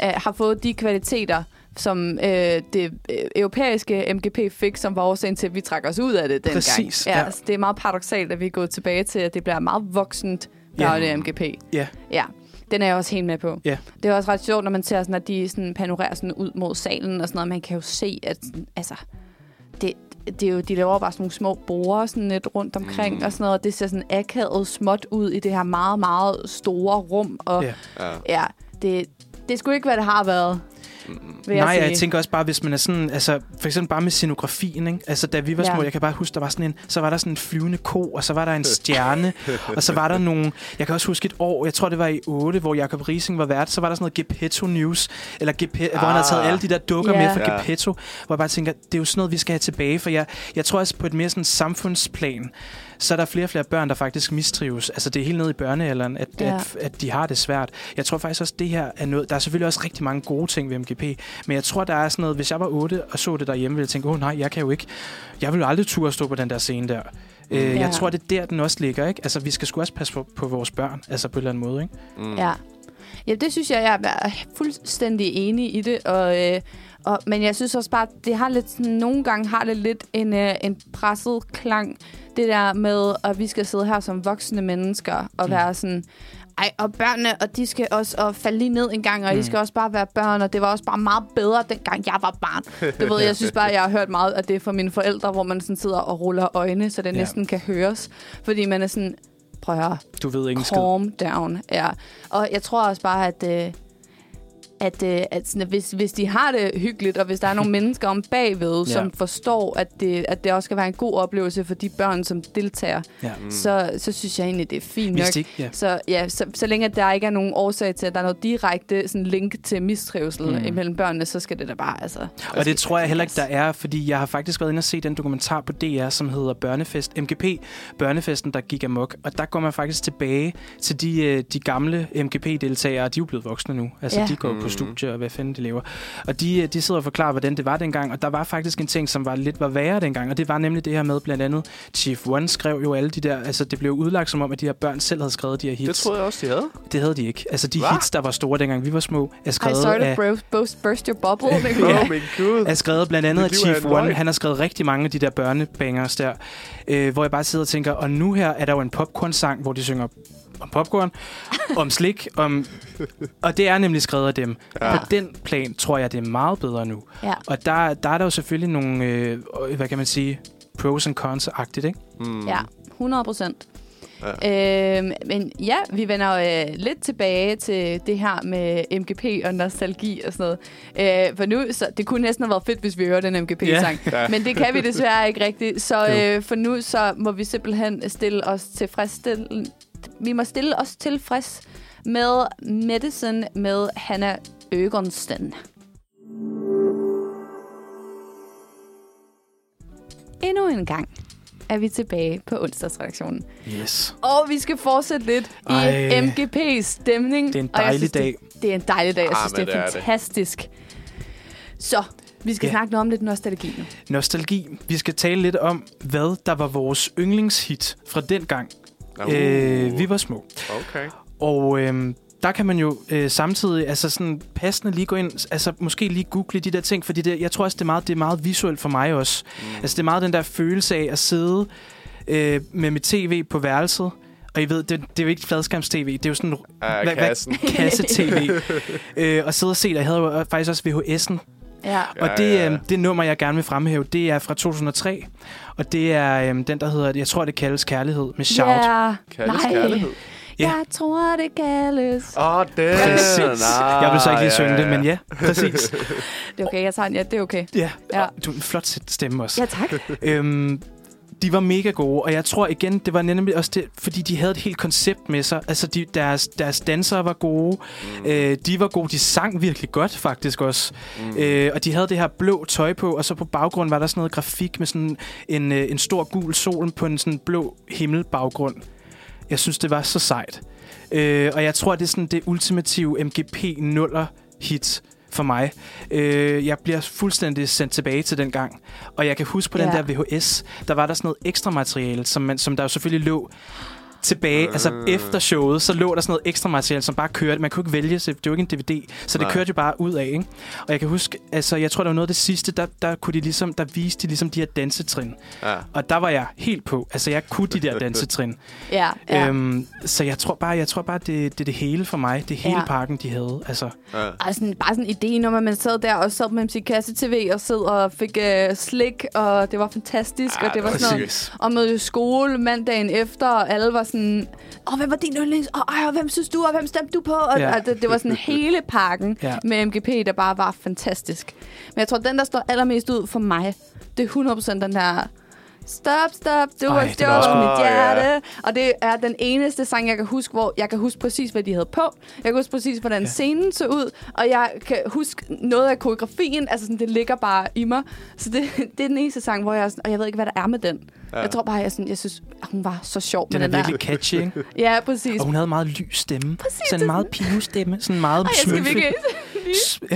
uh, har fået de kvaliteter, som øh, det øh, europæiske MGP fik, som var årsagen til, at vi trak os ud af det dengang. Præcis, Ja, ja. Så det er meget paradoxalt, at vi er gået tilbage til, at det bliver meget voksent, når Ja. det er MGP. Ja. Ja, den er jeg også helt med på. Ja. Det er også ret sjovt, når man ser, sådan, at de sådan panorerer sådan ud mod salen og sådan noget. Man kan jo se, at sådan, altså, det, det er jo, de laver bare sådan nogle små borer sådan lidt rundt omkring mm. og sådan noget. Og det ser sådan akavet småt ud i det her meget, meget store rum. Og Ja. ja, Ja. ja det, det skulle ikke, hvad det har været. Vil Nej, sige. jeg tænker også bare, hvis man er sådan, altså for eksempel bare med scenografien, ikke? Altså da vi var Ja. små, jeg kan bare huske, der var sådan en, så var der sådan en flyvende ko, og så var der en stjerne, og så var der nogle, jeg kan også huske et år, jeg tror det var i 8, hvor Jacob Rising var vært, så var der sådan noget Gepetto News, eller Gepe- ah. hvor han havde taget Ah. alle de der dukker Ja. med fra Ja. Gepetto, hvor jeg bare tænker, det er jo sådan noget, vi skal have tilbage, for jeg, jeg tror også på et mere sådan samfundsplan, så er der flere og flere børn, der faktisk mistrives. Altså det er helt ned i børnealderen, at, Ja. ja. at, at de har det svært. Jeg tror faktisk også, det her er noget... Der er selvfølgelig også rigtig mange gode ting ved MGP, men jeg tror, der er sådan noget... Hvis jeg var 8 og så det derhjemme, ville jeg tænke, åh oh, nej, jeg kan jo ikke... Jeg vil jo aldrig turde stå på den der scene der. Mm. Øh, Ja. Jeg tror, det er der, den også ligger, ikke? Altså, vi skal sgu også passe på, på vores børn, altså på en eller anden måde, ikke? Ja. ja, det synes jeg, jeg er fuldstændig enig i det. Og, øh, og, men jeg synes også bare, det har lidt sådan, nogle gange har det lidt en, øh, en presset klang. Det der med, at vi skal sidde her som voksne mennesker og mm. være sådan... Ej, og børnene, og de skal også og falde lige ned en gang, og mm. de skal også bare være børn, og det var også bare meget bedre, dengang jeg var barn. Du ved, jeg synes bare, jeg har hørt meget af det fra mine forældre, hvor man sådan sidder og ruller øjne, så det Ja. ja. næsten kan høres. Fordi man er sådan, prøv at høre, Du ved ikke en skid. Calm down, ja. Og jeg tror også bare, at, øh, at, øh, at, sådan, at hvis, hvis de har det hyggeligt, og hvis der er nogle mennesker om bagved, Ja. ja. som forstår, at det, at det også skal være en god oplevelse for de børn, som deltager, Ja. mm. så, så synes jeg egentlig, det er fint Hvis nok. de ikke- ja. Så, ja, så, så længe at der ikke er nogen årsag til, at der er noget direkte sådan, link til mistrivsel mm. imellem børnene, så skal det da bare, altså... Og det tror jeg heller ikke, der er, fordi jeg har faktisk været inde og se den dokumentar på DR, som hedder Børnefest, MGP, Børnefesten, der gik amok. Og der går man faktisk tilbage til de, øh, de gamle MGP-deltagere, de er jo blevet voksne nu. Altså, Ja. ja. de går mm. på studie og hvad fanden de lever. Og de, øh, de sidder og forklarer, hvordan det var dengang, og der var faktisk en ting, som var lidt var værre dengang, og det var nemlig det her med, blandt andet Chief One skrev jo alle de der, altså det blev udlagt som om, at de her børn selv havde skrevet de her hits. Det troede jeg også, de havde. det havde de ikke. Altså de Hva? hits, der var store dengang vi var små, er I skrevet sorry af... to bro- burst, burst your bubble. Nico. Åh, oh, min gud. er skrevet blandt andet af Mit liv er Chief en One. løgn. Han har skrevet rigtig mange af de der børnebangers der, øh, hvor jeg bare sidder og tænker, og nu her er der jo en popcorn-sang, hvor de synger om popcorn, om slik, om... og det er nemlig skrevet af dem. Ja. På den plan tror jeg, det er meget bedre nu. Ja. Og der, der er der jo selvfølgelig nogle, øh, hvad kan man sige, pros and cons-agtigt, ikke? Ja, 100 procent. Mm. Ja. Øhm, men ja, vi vender øh, lidt tilbage til det her med MGP og nostalgi og sådan noget. Øh, for nu, så, det kunne næsten have været fedt, hvis vi hørte en MGP-sang. Ja. Men det kan vi desværre ikke rigtigt. Så Jo. øh, for nu, så må vi simpelthen stille os tilfredsstille... Vi må stille os tilfreds med Medicine med Hanna Øgensten. Endnu en gang er vi tilbage på onsdagsredaktionen. Yes. Og vi skal fortsætte lidt Ej. i Ej. MGP's stemning. Det er en Og jeg dejlig synes, dag. Det, det er en dejlig dag. Jeg Ah, synes, men det er det er det. fantastisk. Så, vi skal Ja. snakke noget om lidt nostalgi nu. Nostalgi. Vi skal tale lidt om, hvad der var vores yndlingshit fra dengang, Uh, øh, vi var små. Okay. Og øhm, der kan man jo øh, samtidig altså sådan passende lige gå ind, altså måske lige google de der ting, fordi det, jeg tror også, det er, meget, det er meget visuelt for mig også. Mm. Altså det er meget den der følelse af at sidde øh, med mit tv på værelset, og I ved, det, det er jo ikke fladskærms-tv, det er jo sådan... Ah, kassen. kasse-tv. øh, og sidde og se det. Jeg havde jo faktisk også VHS'en Ja. og det, ja, ja. øh, det nummer, jeg gerne vil fremhæve, det er fra 2003. Og det er øh, den, der hedder, jeg tror, det kaldes Kærlighed med Shout. Ja. Kaldes Nej. kærlighed. Ja. Jeg tror, det kaldes. Åh, oh, det Præcis. Jeg vil så ikke lige synge det, men ja, præcis. Det er okay, jeg tager den. Ja, det er okay. Ja, Ja. ja. du er en flot stemme også. Ja, tak. Øhm, de var mega gode, og jeg tror igen, det var nemlig også det, fordi de havde et helt koncept med sig. Altså, de, deres, deres dansere var gode, øh, de var gode, de sang virkelig godt faktisk også, øh, og de havde det her blå tøj på, og så på baggrunden var der sådan noget grafik med sådan en, øh, en stor gul sol på en sådan blå himmelbaggrund. Jeg synes, det var så sejt. Øh, og jeg tror, det er sådan det ultimative MGP 0'er hit for mig. Øh, jeg bliver fuldstændig sendt tilbage til den gang. Og jeg kan huske på ja. den Ja. der VHS, der var der sådan noget ekstra materiale, som, man, som der jo selvfølgelig lå tilbage, altså efter showet, så lå der sådan noget ekstra materiale, som bare kørte. Man kunne ikke vælge, så det var jo ikke en DVD, så det Nej. kørte jo bare ud af, ikke? Og jeg kan huske, altså jeg tror, der var noget af det sidste, der, der kunne de ligesom, der viste de ligesom de her dansetrin. Ja. Og der var jeg helt på. Altså jeg kunne de der dansetrin. Ja, Ja. ja. Øhm, så jeg tror bare, jeg tror bare det, det er det hele for mig. Det er hele ja. Ja. pakken, de havde. Altså, Ja. Og sådan, bare sådan ideen om, at man sad der og sad med sin kasse-tv og sad og fik øh, slik, og det var fantastisk, Ah, og det var det var sådan noget, seriøst. og mødte i skole mandagen efter, og alle var sådan, åh, hvad var din yndlings? Åh, ej, og hvem synes du, og hvem stemte du på? Og, Ja. ja. og det, det var sådan hele pakken Ja. ja. med MGP, der bare var fantastisk. Men jeg tror, den, der står allermest ud for mig, det er 100% den der... Stop, stop, du Ej, har den er stjålet også god. mit Åh, ja. hjerte. Og det er den eneste sang, jeg kan huske, hvor jeg kan huske præcis, hvad de havde på. Jeg kan huske præcis, hvordan ja. scenen så ud. Og jeg kan huske noget af koreografien. Altså, sådan, det ligger bare i mig. Så det, det er den eneste sang, hvor jeg er sådan, og jeg ved ikke, hvad der er med den. Ja. Jeg tror bare, jeg, sådan, jeg synes, at hun var så sjov den med er den der. virkelig catchy, ikke? Ja, præcis. Og hun havde meget lys stemme. Præcis, sådan det en er meget pivestemme. Sådan meget Ej, jeg skal smølfe. virkelig Vær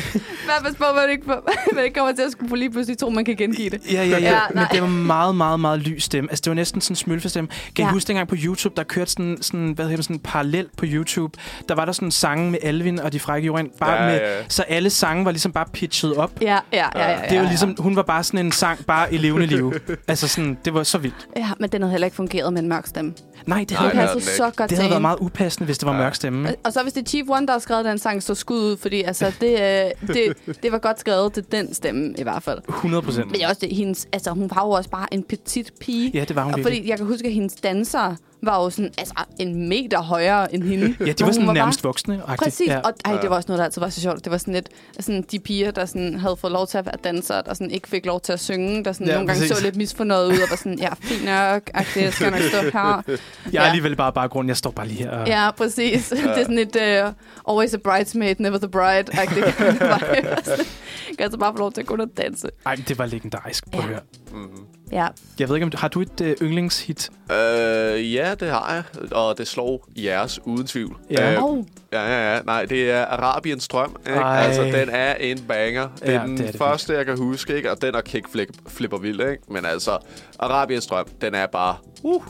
pas på, hvad det ikke, hvad det ikke kommer til at skulle på lige pludselig tro, man kan gengive det. Ja, ja, ja. Ja, men nej. det var meget, meget, meget lys stemme. Altså, det var næsten sådan en smølfestemme. Kan ja. I Ja. huske dengang på YouTube, der kørte sådan, sådan hvad hedder det, sådan en parallel på YouTube? Der var der sådan en sang med Alvin og de frække jorden. Bare Ja, med, ja. Så alle sange var ligesom bare pitchet op. Ja, ja, ja. ja, ja Det var ligesom, hun var bare sådan en sang, bare i levende liv. altså sådan, det var så vildt. Ja, men den havde heller ikke fungeret med en mørk stemme. Nej, det Den havde, det havde passede den så ikke. godt Øh, det til havde hende. været meget upassende, hvis det var mørk stemme. ikke? Og- Og så hvis det er Chief One, der har skrevet den sang, så skud ud, fordi altså, det, øh, det, det var godt skrevet til den stemme i hvert fald. 100 procent. Men det er også det, hendes, altså, hun var jo også bare en petit pige. Ja, det var hun og virkelig. fordi jeg kan huske, at hendes dansere var jo sådan, altså, en meter højere end hende. Ja, de Og var hun sådan nærmest bare- voksne. Præcis, Ja. ja. og ej, det var også noget, der altid var så sjovt. Det var sådan lidt, sådan, de piger, der sådan, havde fået lov til at være dansere, der sådan, ikke fik lov til at synge, der sådan, Ja, ja, nogle gange præcis. så lidt misfornøjet ud, og var sådan, ja, fint nok, agtig, jeg skal nok stå her. Jeg er ja. alligevel bare baggrunden. Jeg står bare lige her. og- Ja, præcis. Ja. Det er sådan et uh, always a bridesmaid, never the bride-agtigt. kan altså bare få lov til at gå ned og danse. Ej, men det var legendarisk. Prøv at Ja. høre. Ja. Jeg ved ikke, om du, har du et øh, yndlingshit? Øh, ja, det har jeg, og det slår jeres uden tvivl. Ja. Øh, Oh. ja, ja, ja. Nej, det er Arabiens drøm. Ikke? Ej. Altså, den er en banger. Det er Ja, ja, den det det er det første, jeg kan huske, ikke? og den og kick flip, flipper vildt. Ikke? Men altså, Arabiens drøm, den er bare... Uh,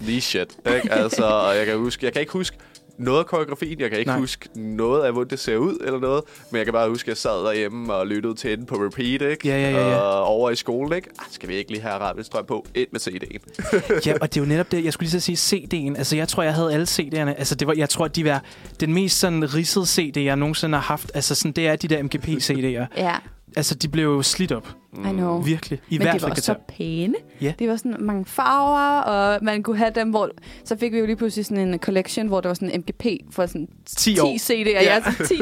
lige shit. Ikke? Altså, og jeg kan, huske, jeg kan ikke huske noget af koreografien. Jeg kan ikke Nej. Nej. huske noget af, hvordan det ser ud eller noget. Men jeg kan bare huske, at jeg sad derhjemme og lyttede til den på repeat. Ikke? Ja, ja, ja, ja. Og over i skolen, ikke? Ah, skal vi ikke lige have Arabiens drøm på? Ind med CD'en. Ja, og det er jo netop det, jeg skulle lige så sige CD'en. Altså, jeg tror, jeg havde alle CD'erne. Altså, det var, jeg tror, de var den mest sådan ridsede CD, jeg nogensinde har haft. Altså, sådan, det er de der MGP-CD'er. Ja, Altså, de blev jo slidt op. I know. Virkelig. I Men hvert de var fald også så guitar. pæne. Ja. Det var sådan mange farver, og man kunne have dem, hvor... Så fik vi jo lige pludselig sådan en collection, hvor der var sådan en MGP for sådan 10 år. 10 CD'er. Ja. ja, så 10,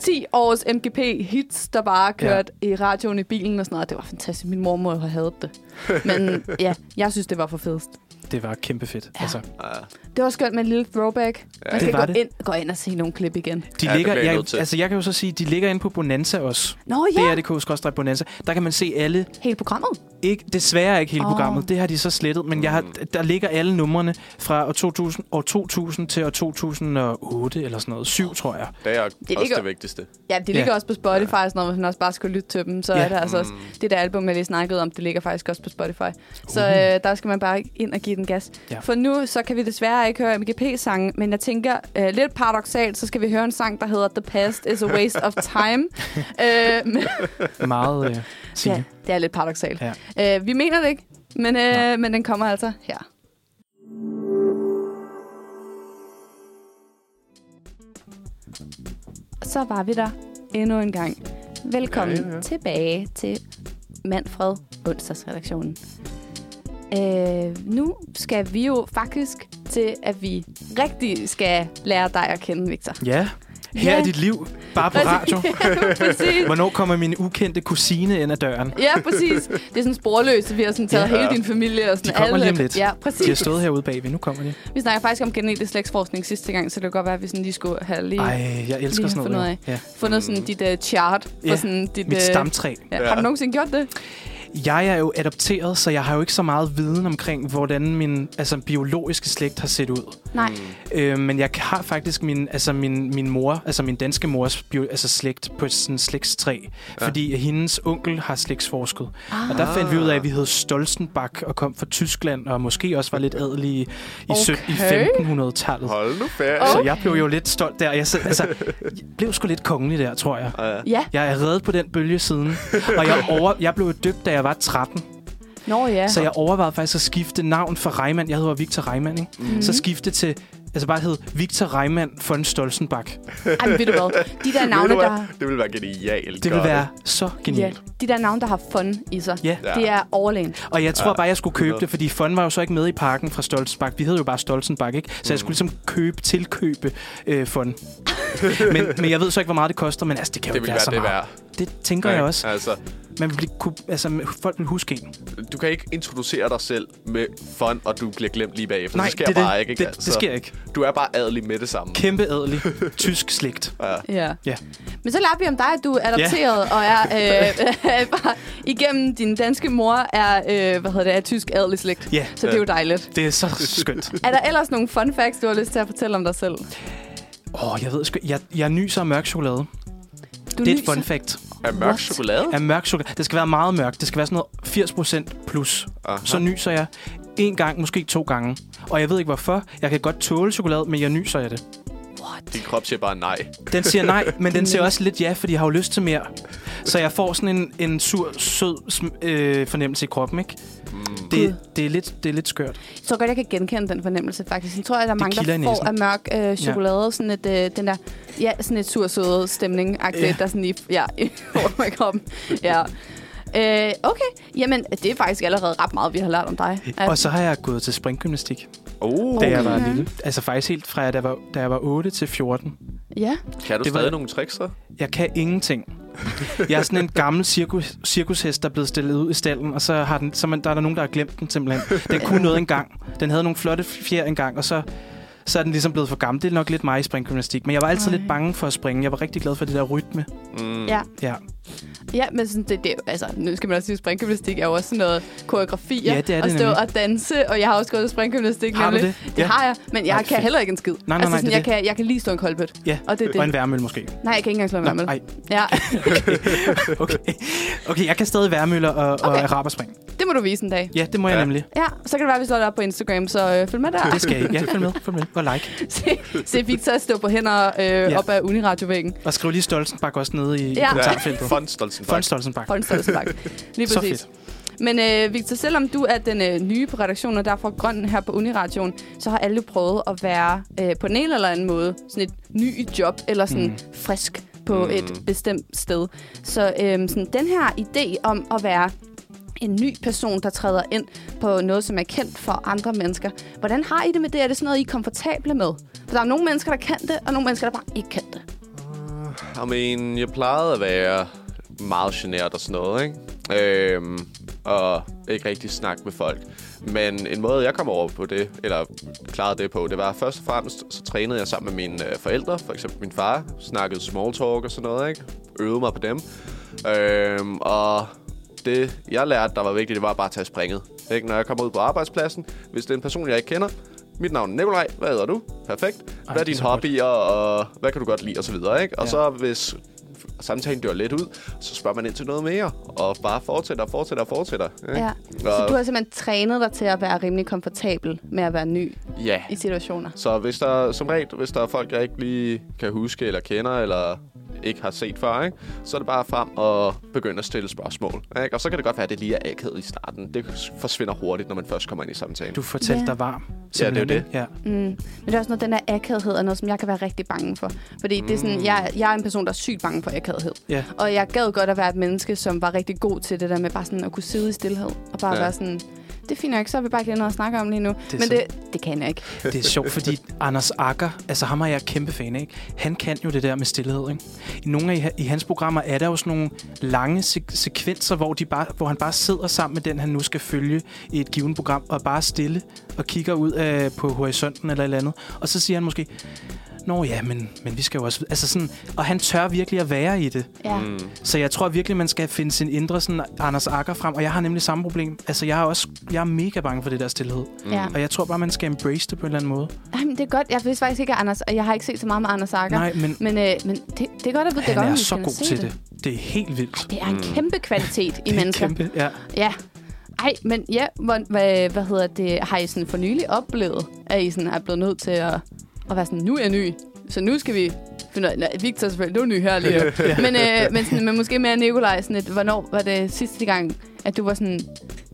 10 års MGP-hits, der bare kørte ja. i radioen i bilen og sådan noget. Det var fantastisk. Min mor må jo have hadet det. Men ja, jeg synes, det var for fedest. Det var kæmpe fedt. Ja. Altså, Ja. Det var skønt med en lille throwback. Ja. Man Det skal var gå det. ind, gå ind og se nogle klip igen. de Ja, det ligger, bliver jeg jeg, nødt til. altså, jeg kan jo så sige, de ligger inde på Bonanza også. Nå ja, Ja. det det. DRDK-bonanza. Der kan man se alle hele programmet. Ikke, desværre ikke hele oh. Åh. programmet. Det har de så slettet, men jeg har, der ligger alle numrene fra år 2000, år 2000 til år 2008 eller sådan noget. 7, tror jeg. Det er det også ligger- det vigtigste. Ja, det ligger Ja. ja. også på Spotify, ja. når man også bare skal lytte til dem. Så Ja. Mm. ja. er der altså også, Mm. det der album, jeg lige snakkede om, det ligger faktisk også på Spotify. Så øh, der skal man bare ind og give den gas. Ja. Ja. For nu, så kan vi desværre ikke høre MGP-sangen, men jeg tænker, øh, lidt paradoxalt, så skal vi høre en sang, der hedder The Past is a Waste of Time. øh, men, Meget øh, ja, sigende. det er lidt paradoxalt. Ja. Ja. Øh, vi mener det ikke, men, Nej. øh, men den kommer altså her. Så var vi der endnu en gang. Velkommen ja, ja, ja. tilbage til Manfred onsdagsredaktionen. Øh, nu skal vi jo faktisk til, at vi rigtig skal lære dig at kende, Victor. Ja. Her Ja. er dit liv, bare på radio. præcis. Hvornår kommer min ukendte kusine ind ad døren? Ja, præcis. Det er sådan sporløst, at vi har sådan taget Ja. ja. hele din familie og sådan De kommer alle. lige om lidt. Ja, De har præcis. stået herude bagved, nu kommer de. Vi snakker faktisk om genetisk slægtsforskning sidste gang, så det kan godt være, at vi sådan lige skulle have lige Ej. Ej, jeg elsker Lige have sådan noget. fundet jo. Ja. fundet sådan dit uh, chart for Ja, sådan dit... Mit øh, stamtræ. ja. Ja. Har du nogensinde gjort det? Jeg er jo adopteret, så jeg har jo ikke så meget viden omkring, hvordan min altså, biologiske slægt har set ud. Nej. Øh, men jeg har faktisk min, altså min, min mor, altså min danske mors bio, altså slægt på sådan en slægtstræ, ja. fordi hendes onkel har slægtsforsket. Ah. Og der fandt vi ud af, at vi hed Stolzenbach og kom fra Tyskland, og måske også var lidt adelige i, okay. i Okay. 1500-tallet. Hold nu fast. Så Okay. jeg blev jo lidt stolt der. Jeg, sad- altså, jeg blev sgu lidt kongelig der, tror jeg. Ja. Jeg er reddet på den bølge siden, og jeg, over, jeg blev døbt, da jeg var 13. Nå ja. Så jeg overvejede faktisk at skifte navn fra Reimann. Jeg hedder Victor Reimann, ikke? Mm. Så skifte til... Altså bare hed Victor Reimann von Stolzenbach. Ej, men ved du hvad? De der navne, Ved du hvad? der... Det ville være genialt. Det gør ville være så Ja, genialt. de der navne, der har fun i sig. Ja. Ja. Det er overlægen. Og jeg tror bare, jeg skulle købe Hundrede. det, fordi Fon var jo så ikke med i parken fra Stolzenbach. Vi hed jo bare Stolzenbach, ikke? Så Mhm. jeg skulle ligesom købe, tilkøbe øh, Fon. men, men jeg ved så ikke, hvor meget det koster, men altså, det kan jo Det ikke ville være så være det meget. værd. Det tænker jeg Ikke? også. Altså, Man vil blive, kunne, altså, folk vil huske en. du kan ikke introducere dig selv med fun, og du bliver glemt lige bagefter. Nej, det sker det er det. bare ikke. Altså. Det- det sker ikke. Du er bare adelig med det samme. Kæmpe adelig tysk slægt. Ja. Ja. Men så lærte vi om dig, at du er adopteret yeah. og er øh, bare igennem din danske mor er, øh, hvad hedder det, er tysk adelig slægt. Ja. Så det er jo dejligt. Det er så skønt. Er der ellers nogle fun facts, du har lyst til at fortælle om dig selv? Åh, oh, jeg ved sgu... Jeg, jeg nyser af mørk chokolade. Du det er et nyser. fun fact. Er mørk What? chokolade? Af mørk chokolade. Det skal være meget mørkt. Det skal være sådan noget 80% plus. Aha. Så nyser jeg en gang, måske to gange. Og jeg ved ikke hvorfor. Jeg kan godt tåle chokolade, men jeg nyser af det. Din krop siger bare nej. Den siger nej, men den siger også lidt ja, fordi jeg har jo lyst til mere. Så jeg får sådan en, en sur, sød sm- øh, fornemmelse i kroppen, ikke? Mm. Det, det, er lidt, det er lidt skørt. Jeg tror godt, jeg kan genkende den fornemmelse, faktisk. Jeg tror, at der er Det mange, kilder i der får næsen. af mørk øh, chokolade, ja. sådan et, øh, den der, ja, sådan et sursøde stemning Ja. ja. der sådan lige, ja, over mig kroppen. Ja. Øh, okay, jamen, det er faktisk allerede ret meget, vi har lært om dig. Og så har jeg gået til springgymnastik, Oh, da jeg Okay. var lille. Altså faktisk helt fra, da jeg var, da jeg var 8 til 14. Ja. kan du det var- stadig nogle tricks, så? Mm. Jeg kan ingenting. Jeg er sådan en gammel cirkus, cirkushest, der er blevet stillet ud i stallen, og så, har den, så man, der er der nogen, der har glemt den simpelthen. Den kunne noget engang. Den havde nogle flotte fjer engang, og så, så er den ligesom blevet for gammel. Det er nok lidt mig i springgymnastik, men jeg var altid Ej. lidt bange for at springe. Jeg var rigtig glad for det der rytme. Mm. Ja. Ja, Ja, men sådan, det, det, er jo- altså, nu skal man også sige, at springgymnastik er jo også sådan noget koreografi. Ja, det er At det stå nemlig. og danse, og jeg har også gået til springgymnastik. Har du nemlig. det? Det Ja. har jeg, men jeg Nej, Ej, kan fedt. heller ikke en skid. nej, altså, nej, sådan, det er jeg, kan, jeg kan lige stå en koldbøt. ja. Og det er og en det. værmøl måske. Nej, jeg kan ikke engang slå en værmølle. nej. Ja, Okay. okay, jeg kan stadig værmøller og, okay. og Okay. araberspring. det må du vise en dag. Ja, det må jeg Ja. nemlig. Ja, så kan det være, at vi slår det op på Instagram, så øh, følg med der. Det skal jeg. Ja, følg med, følg med. Og like. se, se Victor stå på hænder øh, ja. op ad uniradiovæggen. Og skriv lige Stolzenbak også nede i, ja. i Ja. kommentarfeltet. Fun Stolzenbach. Fun Stolzenbak. For en stolsbak. Lige Så præcis. Men øh, Victor, selvom du er den øh, nye på redaktionen, og derfor grøn her på Uniradioen, så har alle jo prøvet at være øh, på den ene eller anden måde sådan et ny job, eller sådan mm. frisk på mm. et bestemt sted. Så øh, sådan, den her idé om at være en ny person, der træder ind på noget, som er kendt for andre mennesker. Hvordan har I det med det? Er det sådan noget, I er komfortable med? For der er nogle mennesker, der kan det, og nogle mennesker, der bare ikke kan det. I mean, jeg plejede at være meget generet og sådan noget, ikke? Øhm, og ikke rigtig snakke med folk. Men en måde, jeg kom over på det, eller klarede det på, det var først og fremmest, så trænede jeg sammen med mine øh, forældre, for eksempel min far, snakkede small talk og sådan noget, ikke? Øvede mig på dem. Øhm, og det, jeg lærte, der var vigtigt, det var bare at tage springet. Ikke? Når jeg kommer ud på arbejdspladsen, hvis det er en person, jeg ikke kender, mit navn er Nikolaj, hvad hedder du? Perfekt. Hvad det er er din så godt. hobby? hobbyer, og hvad kan du godt lide, og så videre, ikke? Og Ja. ja. så hvis samtalen dør lidt ud, så spørger man ind til noget mere, og bare fortsætter, og fortsætter, og fortsætter. Ikke? Ja. Så Og, du har simpelthen trænet dig til at være rimelig komfortabel med at være ny ja. i situationer. Så hvis der, som regel, hvis der er folk, jeg ikke lige kan huske, eller kender, eller ikke har set før, ikke? så er det bare frem og begynde at stille spørgsmål. Ikke? Og så kan det godt være, at det lige er akavet i starten. Det forsvinder hurtigt, når man først kommer ind i samtalen. Du fortalte Ja. dig varm. det er jo simpelthen, det. ikke? Ja. Men det er også noget, den der akavhed er noget, som jeg kan være rigtig bange for. Fordi mm. det er sådan, jeg, jeg er en person, der er sygt bange for akavhed. Ja. Og jeg gad godt at være et menneske, som var rigtig god til det der med bare sådan at kunne sidde i stillhed. Og bare Ja. ja. være sådan, det er fint nok, så har vi bare ikke noget at snakke om lige nu. er Men sådan- det, det kan jeg ikke. Det er sjovt, fordi Anders Akker, altså ham er jeg kæmpe fan af, ikke? han kan jo det der med stillhed. Ikke? I nogle af i hans programmer er der jo sådan nogle lange se- sekvenser, hvor, de bare, hvor han bare sidder sammen med den, han nu skal følge i et givet program, og er bare stille og kigger ud af, på horisonten eller et eller andet. Og så siger han måske, Nå ja, men, men vi skal jo også... Altså sådan, og han tør virkelig at være i det. Ja. Mm. Så jeg tror virkelig, man skal finde sin indre sådan, Anders Akker frem. Og jeg har nemlig samme problem. Altså, jeg er også jeg er mega bange for det der stillhed. Mm. Ja. Og jeg tror bare, man skal embrace det på en eller anden måde. Ej, men det er godt. Jeg vidste faktisk ikke, at Anders, og jeg har ikke set så meget med Anders Akker. Nej, men, Men, øh, men det, det er godt at vide, det han godt, er at vi så kan god se til det. det. Det er helt vildt. Det er en kæmpe kvalitet i det er mennesker. Kæmpe, ja. Ja. Ej, men ja, hvor, hvad, hvad hedder det? Har I sådan for nylig oplevet, at I sådan er blevet nødt til at, at være sådan, nu er jeg ny, så nu skal vi finde ud af- nej, Victor er selvfølgelig, du er ny her lige nu. men, øh, men, sådan, men måske mere Nikolaj, sådan et, hvornår var det sidste gang, at du var sådan,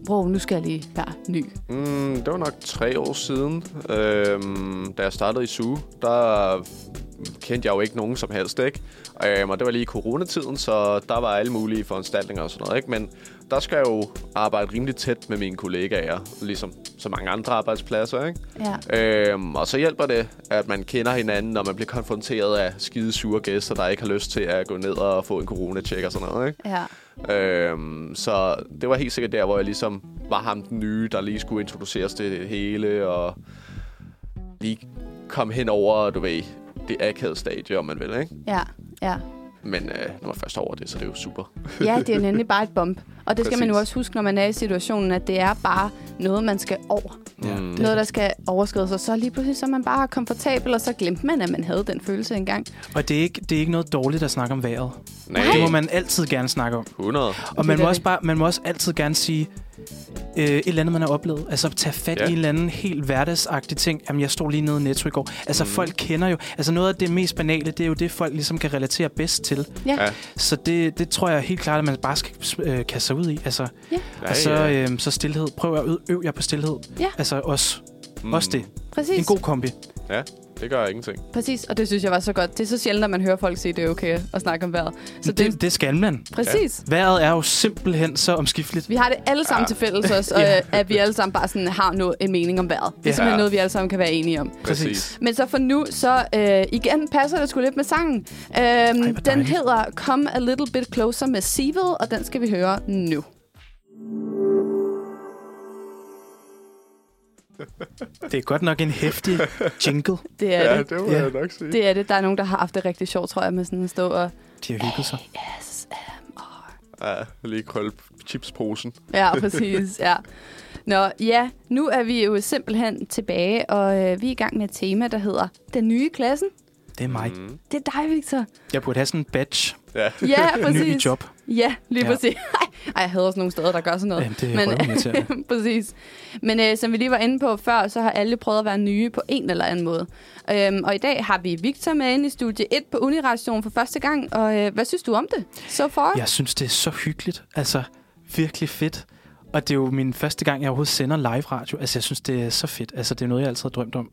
bro, nu skal jeg lige være ny. Mm, det var nok tre år siden, øhm, da jeg startede i SU. Der kendte jeg jo ikke nogen som helst, ikke? Øhm, og det var lige i coronatiden, så der var alle mulige foranstaltninger og sådan noget, ikke? Men der skal jeg jo arbejde rimelig tæt med mine kollegaer, ligesom så mange andre arbejdspladser, ikke? Ja. Øhm, og så hjælper det, at man kender hinanden, når man bliver konfronteret af skide sure gæster, der ikke har lyst til at gå ned og få en coronatjek og sådan noget, ikke? Ja. Øhm, så det var helt sikkert der, hvor jeg ligesom var ham den nye, der lige skulle introduceres til det hele, og lige kom hen over, du ved, det akavede stadie, om man vil, ikke? Ja, ja. Men øh, når man først er over det, så er det jo super. Ja, det er nemlig bare et bump. Og det skal man jo Præcis. også huske, når man er i situationen, at det er bare noget, man skal over. ja Mm. det, Noget, er der det. skal overskrides, og så lige pludselig så er man bare komfortabel, og så glemte man, at man havde den følelse engang. Og det er, ikke, det er ikke noget dårligt at snakke om vejret. Nej, Det må man altid gerne snakke om. 100. Og man Det er må, det. også bare, man må også altid gerne sige øh, et eller andet, man har oplevet. Altså tage fat Ja. i en eller anden helt hverdagsagtig ting. Jamen, jeg stod lige nede i Netto i går. Altså, mm. folk kender jo... Altså, noget af det mest banale, det er jo det, folk ligesom kan relatere bedst til. Ja, Ja. Så det, det tror jeg helt klart, at man bare skal øh, kaste sig ud i. Altså, Nej, og så, øh, så stillhed. Prøv at øve, øv jer på stillhed. Ja. Altså, også, mm. også det. præcis. En god kombi. Ja, det gør ingenting. Præcis, og det synes jeg var så godt. Det er så sjældent, at man hører folk sige, at det er okay at snakke om vejret. Så Så det, det, det skal man. præcis. Ja. Vejret er jo simpelthen så omskifteligt. Vi har det alle sammen Ja. ja. til fælles også, og, øh, Ja. at vi alle sammen bare sådan har noget, en mening om vejret. Det er Ja. simpelthen noget, vi alle sammen kan være enige om. Præcis. Men så for nu, så øh, igen passer det sgu lidt med sangen. Øhm, Ej, den dejligt. hedder Come A Little Bit Closer med Sivel, og den skal vi høre nu. Det er godt nok en hæftig jingle. Det er ja, det. det må Ja. jeg nok sige. Det er det. Der er nogen, der har haft det rigtig sjovt, tror jeg, med sådan at stå og... De har hygget sig. Ja, lige krølle chipsposen. Ja, præcis. ja. Nå, ja, nu er vi jo simpelthen tilbage, og øh, vi er i gang med et tema, der hedder Den nye klassen. Det er mig. Mm. Det er dig, Victor. Jeg burde have sådan en badge. Ja. Ja, Ny i præcis. job. Ja, lige Ja. ja. præcis. Ej, jeg hader også nogle steder, der gør sådan noget. Jamen, det er røvirriterende. præcis. Men øh, som vi lige var inde på før, så har alle prøvet at være nye på en eller anden måde. Øhm, og i dag har vi Victor med inde i studie 1 på Unirationen for første gang. Og øh, hvad synes du om det? Så far? Jeg synes, det er så hyggeligt. Altså, virkelig fedt. Og det er jo min første gang, jeg overhovedet sender live radio. Altså, jeg synes, det er så fedt. Altså, det er noget, jeg altid har drømt om.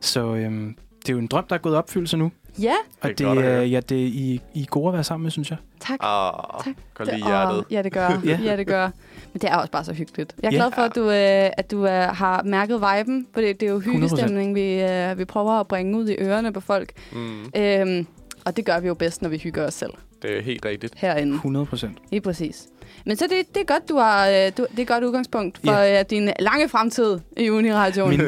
Så øhm, det er jo en drøm, der er gået i opfyldelse nu. Ja, Og Det det, er godt at er, høre. ja, det er I, I er gode at være sammen med, synes jeg. tak. Ah, Tak. kan lige Åh, hjertet. Ja, det gør. Ja. ja. ja, det gør. Men det er også bare så hyggeligt. Jeg er Ja. glad for, at du, øh, at du øh, har mærket viben, for det, det er jo 100%. hyggestemning, vi, øh, vi prøver at bringe ud i ørerne på folk. Mm, Øhm, og det gør vi jo bedst, når vi hygger os selv det er helt rigtigt. herinde. 100 procent. Lige præcis. Men så det, det er godt, du har, øh, du, det er et godt udgangspunkt for Ja. ja. øh, din lange fremtid i Uniradioen. Min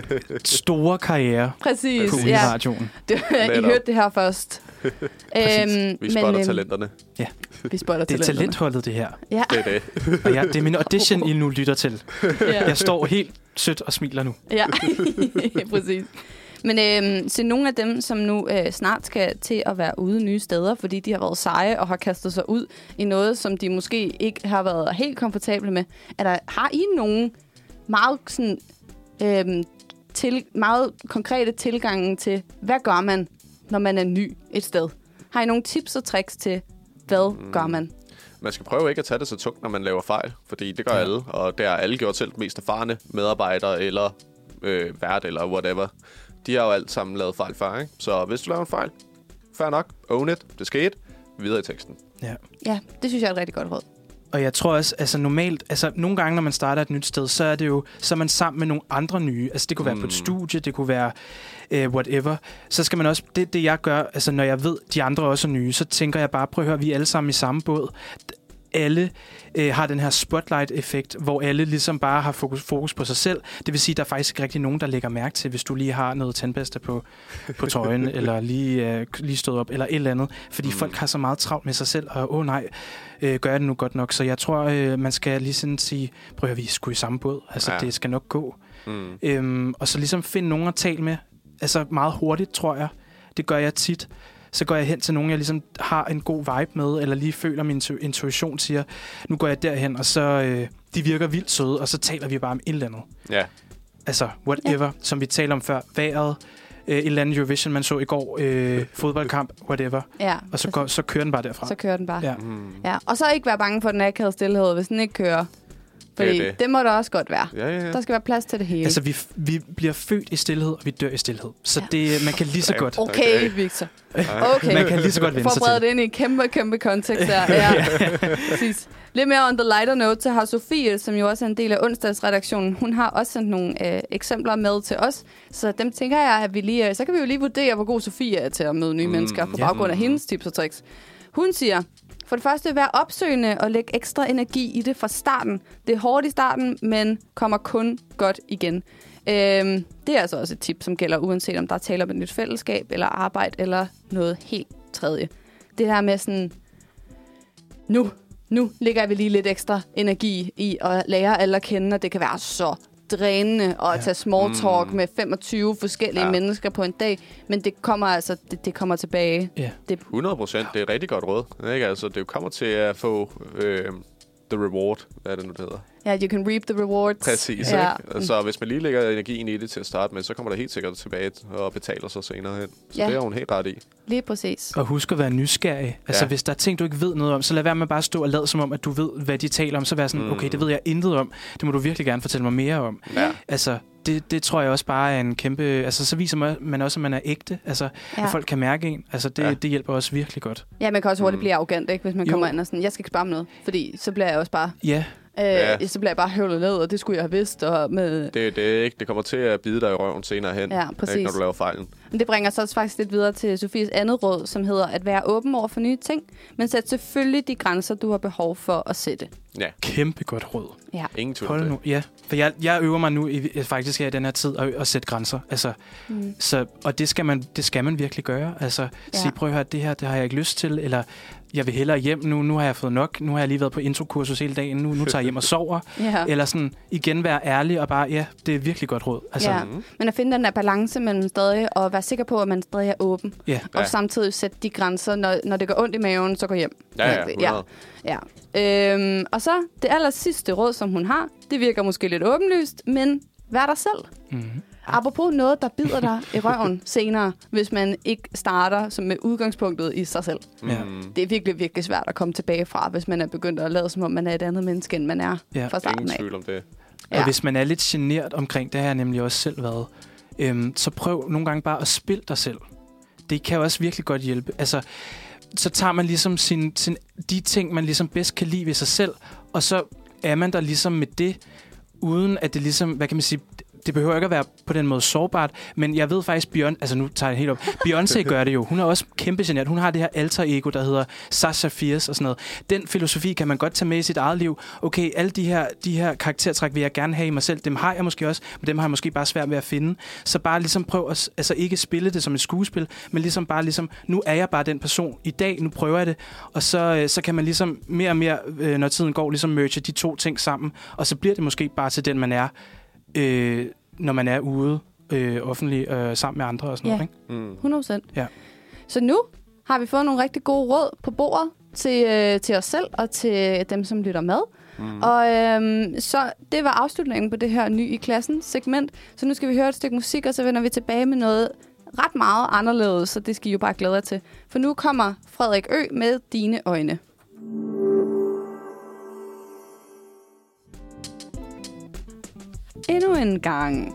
store karriere Præcis, på ja. radioen. Det, I Altså, Netop. hørte det her først. Præcis. Vi spotter øhm, talenterne. Vi spotter Det er talenterne. talentholdet, det her. Ja, Det er det. Og ja, det er min audition, I nu lytter til. ja. Jeg står helt sødt og smiler nu. Ja, præcis. Men øhm, se, nogle af dem, som nu øh, snart skal til at være ude nye steder, fordi de har været seje og har kastet sig ud i noget, som de måske ikke har været helt komfortable med. Er der, har I nogle meget, sådan, øhm, til, meget konkrete tilgange til, hvad gør man, når man er ny et sted? Har I nogle tips og tricks til, hvad mm. gør man? Man skal prøve ikke at tage det så tungt, når man laver fejl, fordi det gør ja. alle, og det har alle gjort selv, mest erfarne medarbejdere eller øh, vært eller whatever. De har jo alt sammen lavet fejl før, ikke? Så hvis du laver en fejl, fair nok, own it, det skete, videre i teksten. Ja. Ja, det synes jeg er et rigtig godt råd. Og jeg tror også, altså normalt, altså nogle gange, når man starter et nyt sted, så er det jo, så er man sammen med nogle andre nye. Altså det kunne være på Mm. et studie, det kunne være øh, whatever. Så skal man også, det det jeg gør, altså når jeg ved, de andre også er nye, så tænker jeg bare, prøv at høre, vi er alle sammen i samme båd. Alle øh, har den her spotlight-effekt, hvor alle ligesom bare har fokus, fokus på sig selv. Det vil sige, der er faktisk ikke rigtig nogen, der lægger mærke til, hvis du lige har noget tandpasta på, på tøjen, eller lige, øh, lige stået op, eller et eller andet. Fordi mm. folk har så meget travlt med sig selv, og åh oh, nej, øh, gør jeg det nu godt nok? Så jeg tror, øh, man skal lige sådan sige, prøv at vi skulle i samme båd. Altså, Ja. ja. det skal nok gå. Mm. Øhm, og så ligesom finde nogen at tale med. Altså meget hurtigt, tror jeg. Det gør jeg tit. Så går jeg hen til nogen, jeg ligesom har en god vibe med, eller lige føler min intu- intuition siger, nu går jeg derhen, og så øh, de virker vildt søde, og så taler vi bare om et eller andet. Ja. Altså, whatever, ja. som vi talte om før. Vejret, øh, et eller andet Eurovision, man så i går, øh, fodboldkamp, whatever. Ja, Og så, går, så kører den bare derfra. så kører den bare. Ja. Ja. Mm. ja. Og så ikke være bange for den akavede stillhed, hvis den ikke kører. Fordi det, det. det. det må der også godt være. Ja, ja, ja. Der skal være plads til det hele. Altså, vi, f- vi bliver født i stillhed, og vi dør i stillhed. Så Ja. det, man kan lige så godt, okay, Okay. okay, Victor. Ej. Okay. man kan lige så godt vende sig Forbered til. det ind i en kæmpe, kæmpe kontekst der. Ja. Præcis. Lidt mere on the lighter note, så har Sofie, som jo også er en del af onsdagsredaktionen, hun har også sendt nogle øh, eksempler med til os. Så dem tænker jeg, at vi lige, øh, så kan vi jo lige vurdere, hvor god Sofie er til at møde nye Mm, mm, mennesker på ja. baggrund af hendes tips og tricks. Hun siger, for det første, vær opsøgende og læg ekstra energi i det fra starten. Det er hårdt i starten, men kommer kun godt igen. Øhm, det er altså også et tip, som gælder uanset om der er tale om et nyt fællesskab, eller arbejde, eller noget helt tredje. Det der med sådan, nu, nu lægger vi lige lidt ekstra energi i at lære alle at kende, og det kan være så drænende at ja. Ja. tage small talk Mm. mm. med 25 forskellige Ja. ja. mennesker på en dag, men det kommer altså, det, det kommer tilbage. Ja. 100 procent. Det er et rigtig godt råd. Ikke? Altså, det kommer til at få øh, the reward, hvad er det nu, det hedder. Ja, you can reap the rewards. Præcis. Ja. Ja. Ikke? Så hvis man lige lægger energien i det til at starte med, så kommer der helt sikkert tilbage og betaler sig senere hen. Så ja. Ja. det har hun helt ret i. Lige præcis. Og husk at være nysgerrig. Altså, Ja. ja. hvis der er ting, du ikke ved noget om, så lad være med bare at stå og lade som om, at du ved, hvad de taler om. Så vær sådan, Mm. mm. okay, det ved jeg intet om. Det må du virkelig gerne fortælle mig mere om. Ja. Altså, det, det tror jeg også bare er en kæmpe... Altså, så viser man- man også, at man er ægte. Altså, ja. Ja. at folk kan mærke en. Altså, det, Ja. ja. det hjælper også virkelig godt. ja, man kan også hurtigt Mm. blive arrogant, ikke? hvis man Jo. kommer ind og sådan, jeg skal ikke spørge om noget, fordi så bliver jeg også bare, Ja, øh, Ja. ja. så bliver jeg bare høvlet ned, og det skulle jeg have vidst. Og med... Det, det, er ikke, det kommer til at bide dig i røven senere hen, Ja, præcis. Ikke, når du laver fejlen. Men det bringer os også faktisk lidt videre til Sofies andet råd, som hedder at være åben over for nye ting, men sæt selvfølgelig de grænser, du har behov for at sætte. Ja, kæmpe godt råd. Ja. ingen tvivl om Hold det. nu. Ja, for jeg, jeg øver mig nu i, faktisk her i den her tid at, at sætte grænser. Altså, Mm. Så, og det skal, man, det skal man virkelig gøre. Altså, ja. sige, prøv at høre, det her, det har jeg ikke lyst til, eller jeg vil hellere hjem nu, nu har jeg fået nok, nu har jeg lige været på introkursus hele dagen, nu, nu tager jeg hjem og sover. Ja. Eller sådan, igen være ærlig og bare, ja, det er et virkelig godt råd. Altså, Ja. ja. Mhm. Men at finde den der balance mellem stadig og være sikker på, at man stadig er åben. Ja. Ja. Og samtidig sætte de grænser, når, når det går ondt i maven, så gå hjem. Ja, ja, Ja. 100. Ja. Øhm, og så det aller sidste råd, som hun har, det virker måske lidt åbenlyst, men vær dig selv. Mm. Apropos noget, der bider dig i røven senere, hvis man ikke starter som med udgangspunktet i sig selv. Ja. Mm. Det er virkelig, virkelig svært at komme tilbage fra, hvis man er begyndt at lade, som om man er et andet menneske, end man er Ja. ja. fra starten Ingen af. tvivl om det. Og hvis man er lidt genert omkring, det har jeg nemlig også selv været, øhm, så prøv nogle gange bare at spille dig selv. Det kan også virkelig godt hjælpe. Altså, så tager man ligesom sin, sin, de ting, man ligesom bedst kan lide ved sig selv, og så er man der ligesom med det, uden at det ligesom, hvad kan man sige, det behøver ikke at være på den måde sårbart, men jeg ved faktisk, Beyonce, altså nu tager jeg det helt op, Beyoncé gør det jo, hun er også kæmpe genert, hun har det her alter ego, der hedder Sasha Fierce og sådan noget. Den filosofi kan man godt tage med i sit eget liv. Okay, alle de her, de her karaktertræk vil jeg gerne have i mig selv, dem har jeg måske også, men dem har jeg måske bare svært ved at finde. Så bare ligesom prøv at, s- altså ikke spille det som et skuespil, men ligesom bare ligesom, nu er jeg bare den person i dag, nu prøver jeg det, og så, øh, så kan man ligesom mere og mere, øh, når tiden går, ligesom merge de to ting sammen, og så bliver det måske bare til den, man er, øh, når man er ude øh, offentlig øh, sammen med andre og sådan Ja. noget. Ikke? Mm. 100 Ja. Så nu har vi fået nogle rigtig gode råd på bordet til, øh, til os selv og til dem, som lytter med. Mm. Og øhm, så det var afslutningen på det her ny i klassen segment. Så nu skal vi høre et stykke musik, og så vender vi tilbage med noget ret meget anderledes, så det skal I jo bare glæde jer til. For nu kommer Frederik Ø med Dine Øjne. Endnu en gang.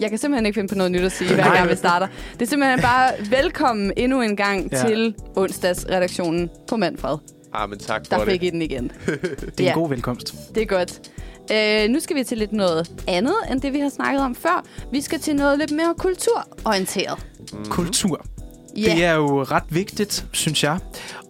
Jeg kan simpelthen ikke finde på noget nyt at sige, hver gang vi starter. Det er simpelthen bare velkommen endnu en gang Ja. ja. til onsdagsredaktionen på Manfred. Ah, men tak for Der det. fik I den igen. Det er Ja. en god velkomst. Det er godt. Øh, nu skal vi til lidt noget andet, end det vi har snakket om før. Vi skal til noget lidt mere kulturorienteret. Kultur. Ja. Det er jo ret vigtigt, synes jeg.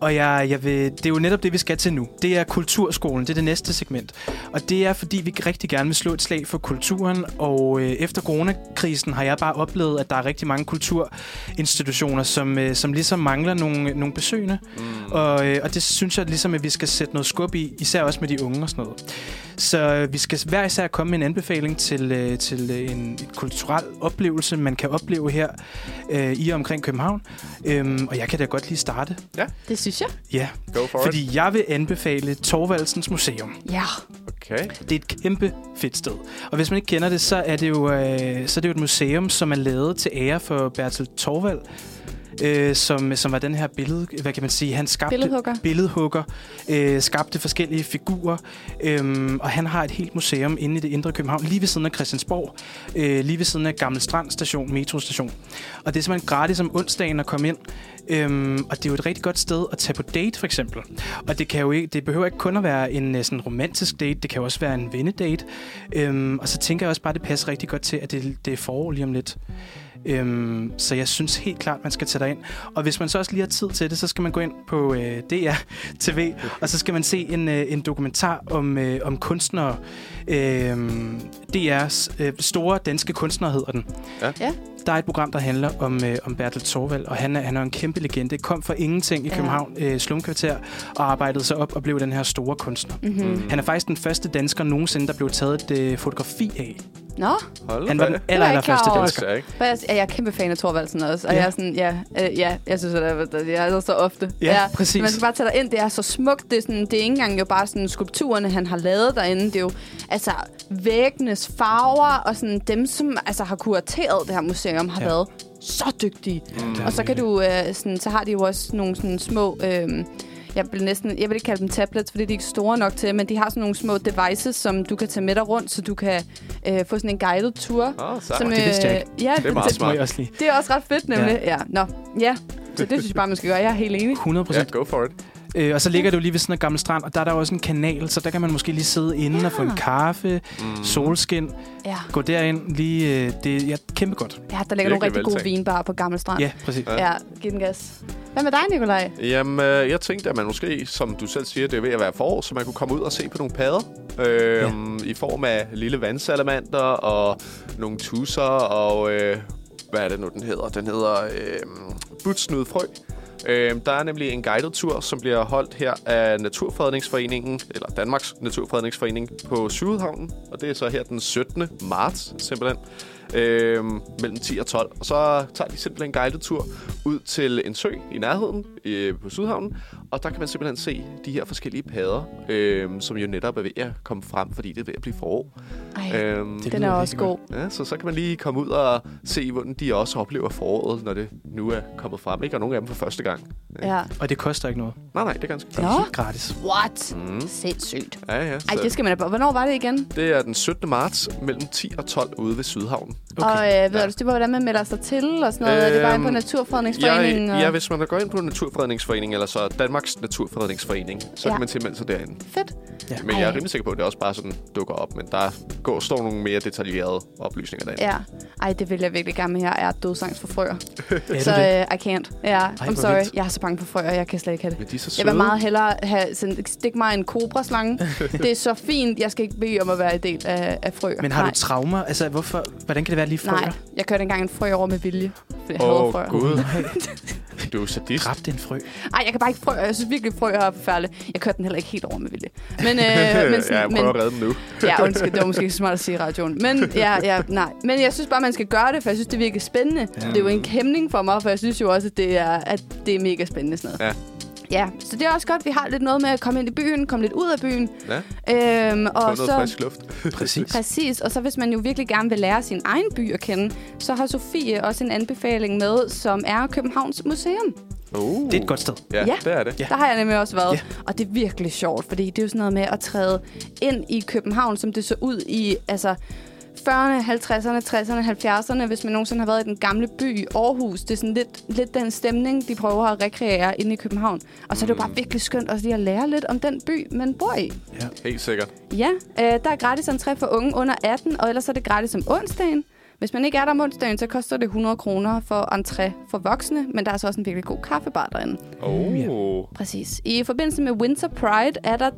Og jeg, jeg vil, det er jo netop det, vi skal til nu. Det er kulturskolen, det er det næste segment. Og det er, fordi vi rigtig gerne vil slå et slag for kulturen. Og øh, efter coronakrisen har jeg bare oplevet, at der er rigtig mange kulturinstitutioner, som, øh, som ligesom mangler nogle, nogle besøgende. Mm. Og, øh, og det synes jeg ligesom, at vi skal sætte noget skub i, især også med de unge og sådan noget. Så øh, vi skal hver især komme med en anbefaling til, øh, til øh, en en kulturel oplevelse, man kan opleve her øh, i og omkring København. Øhm, og jeg kan da godt lige starte. Det synes jeg. Ja, Go for Fordi... it. fordi jeg vil anbefale Torvaldsens Museum. Ja. Okay. Det er et kæmpe fedt sted. Og hvis man ikke kender det, så er det jo, øh, så er det jo et museum, som er lavet til ære for Bertel Torvald, øh, som, som var den her billede... Hvad kan man sige? Han skabte Billedhugger. billedhugger, øh, skabte forskellige figurer, øhm, og han har et helt museum inde i det indre København, lige ved siden af Christiansborg, øh, lige ved siden af Gammel Strand station, metrostation. Og det er simpelthen gratis om onsdagen at komme ind, øhm, og det er jo et rigtig godt sted at tage på date, for eksempel. Og det, kan jo ikke, det behøver ikke kun at være en øh, sådan romantisk date, det kan jo også være en vennedate. Øhm, og så tænker jeg også bare, at det passer rigtig godt til, at det, det er forår lige om lidt. Øhm, så jeg synes helt klart, man skal tage dig ind. Og hvis man så også lige har tid til det, så skal man gå ind på øh, DR TV, og så skal man se en, øh, en dokumentar om, øh, om kunstnere. Øh, DR's øh, store danske kunstnere hedder den. Ja. Ja. Der er et program, der handler om, øh, om Bertel Thorvald, og han er, han er en kæmpe legende. Kom fra ingenting i Ja. København øh, slumkvarter og arbejdede sig op og blev den her store kunstner. Mm-hmm. Han er faktisk den første dansker nogensinde, der blev taget et øh, fotografi af. Nå, Hold Han var da. den aller, jeg aller ikke klar første over. dansker. Stærk. for jeg, jeg er kæmpe fan af Thorvaldsen også. Og Ja. jeg er sådan, ja, øh, ja, jeg synes, at jeg, jeg er der så ofte. Ja, præcis. Man skal bare tage dig ind. Det er så smukt. Det er, sådan, det er ikke engang jo bare sådan skulpturerne, han har lavet derinde. Det er jo altså væggenes farver, og sådan dem, som altså, har kurateret det her museum, har Ja. ja. været så dygtige. Det er Og så kan virkelig. du, øh, sådan, så har de jo også nogle sådan små... Øh, jeg vil, næsten, jeg vil ikke kalde dem tablets, fordi de er ikke store nok til, men de har sådan nogle små devices, som du kan tage med dig rundt, så du kan øh, få sådan en guided tour. Ah, sejt. som, øh, det vidste jeg ja, Det er meget Må smart. jeg også lige. det er også ret fedt, nemlig. Ja. ja. Nå, ja. Så det synes jeg bare, man skal gøre. Jeg er helt enig. 100 procent. Ja, go for it. Øh, og så ligger det jo lige ved sådan en gammel strand, og der er der jo også en kanal, så der kan man måske lige sidde inde ja. og få Ah. en kaffe, mm. solskin, Ja, gå derind lige. Øh, det er ja, kæmpe godt. ja der ligger nogle Virkelig rigtig gode veltænkt. vinbarer på Gammel Strand. Ja, præcis. Ja. ja giv den gas. Hvad med dig, Nikolaj? Jamen, øh, jeg tænkte, at man måske, som du selv siger, det er ved at være forår, så man kunne komme ud og se på nogle padder. Øh, I form af lille vandsalamander og nogle tusser og... Øh, hvad er det nu, den hedder? Den hedder øh, butsnudfrø. Øh, der er nemlig en guided tur, som bliver holdt her af Naturfredningsforeningen, eller Danmarks Naturfredningsforening på Sydhavnen. Og det er så her den 17. marts, simpelthen. Øh, mellem 10 og 12. Og så tager de simpelthen en guided tur ud til en sø i nærheden øh, på Sydhavnen. Og der kan man simpelthen se de her forskellige padder, øh, som jo netop er ved at komme frem, fordi det er ved at blive forår. Ej, øh, Øh, den det er lyder også virkelig god. Ja, så så kan man lige komme ud og se, hvordan de også oplever foråret, når det nu er kommet frem. Ikke? Og nogle af dem for første gang. Ja. Og det koster ikke noget. Nej, nej, det er ganske godt. Nå, Helt gratis. what? Mm. Sindssygt. Ja, ja. Så Ej, det skal man da bare. Hvornår var det igen? det er den 17. marts mellem 10 og 12 ude ved Sydhavnen. Og Okay. øh, ved ja. du, det var, hvordan man melder sig til og sådan noget? Øhm, er det bare inde på Øhm, Naturfredningsforeningen? Jeg, ja, og... hvis man går ind på Naturfredningsforeningen, eller så Danmarks Naturfredningsforening, så Ja. ja. kan man tilmelde sig derinde. Fedt. Men jeg Ej. er rimelig sikker på, at det også bare sådan dukker op, men der går, står nogle mere detaljerede oplysninger derinde. Ja. Ej, det vil jeg virkelig gerne med. Jeg er dødsangs for frøer. Er Så du det? øh, I can't. Ja, I'm hvor sorry. vildt. Jeg er så bange for frøer. Jeg kan slet ikke have det. Men de er så Jeg søde. vil meget hellere have, sådan, stik mig en kobraslange. det er så fint. Jeg skal ikke bede om at være en del af, af frøer. Men har Nej. du traumer? Altså, hvorfor, hvordan kan det være lige frøer? Nej, jeg kørte engang en frø over med vilje. Fordi jeg Åh, oh, oh, frøer. gud. Du er jo sadist. Øh, Dræbte en frø. Ej, jeg kan bare ikke frøer. Jeg synes virkelig, frøer er forfærdelige. Jeg kørte den heller ikke helt over med vilje. Men, øh, men, ja, sådan, jeg men prøver at redde dem nu. ja, undskyld, det var måske ikke så smart at sige i radioen. Men, ja, ja, nej. men jeg synes bare, man skal gøre det, for jeg synes, det virker spændende. Ja. Det er jo en hæmning for mig, for jeg synes jo også, at det er, at det er mega spændende sådan noget. Ja. Ja, så det er også godt, vi har lidt noget med at komme ind i byen, komme lidt ud af byen. Ja, Øhm, få og noget så, frisk luft. Præcis. Præcis, og så hvis man jo virkelig gerne vil lære sin egen by at kende, så har Sofie også en anbefaling med, som er Københavns Museum. Uh. Det er et godt sted. Ja, Ja. det er det. Ja. Der har jeg nemlig også været, Ja. og det er virkelig sjovt, fordi det er jo sådan noget med at træde ind i København, som det så ud i, altså 40'erne, 50'erne, 60'erne, 70'erne, hvis man nogensinde har været i den gamle by i Aarhus. Det er sådan lidt, lidt den stemning, de prøver at rekreere inde i København. Og så er det Mm. jo bare virkelig skønt også lige at lære lidt om den by, man bor i. Helt sikkert. Ja, øh, der er gratis entré for unge under 18, og ellers er det gratis om onsdagen. Hvis man ikke er der om onsdagen, så koster det 100 kroner for entré for voksne, men der er så også en virkelig god kaffebar derinde. Oh. Præcis. I forbindelse med Winter Pride er der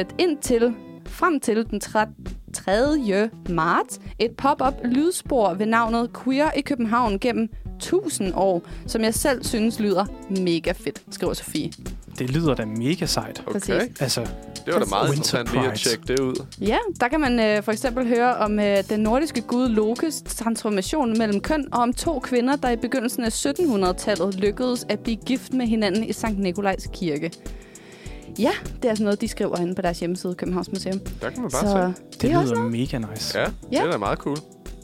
øh, indtil frem til den tre- 3. marts et pop-up lydspor ved navnet Queer i København gennem 1000 år, som jeg selv synes lyder mega fedt, skriver Sofie. Det lyder da mega sejt. Okay. Præcis. Altså, Det var da Altså, meget Winter interessant lige at Pride. tjekke det ud. Ja, der kan man øh, for eksempel høre om øh, den nordiske gud Lokes transformation mellem køn, og om to kvinder, der i begyndelsen af 1700-tallet lykkedes at blive gift med hinanden i Sankt Nikolajs kirke. Ja, det er altså noget, de skriver inde på deres hjemmeside, Københavns Museum. Der kan man Så bare se. det er også lyder mega nice. Ja, Ja. det er da meget cool.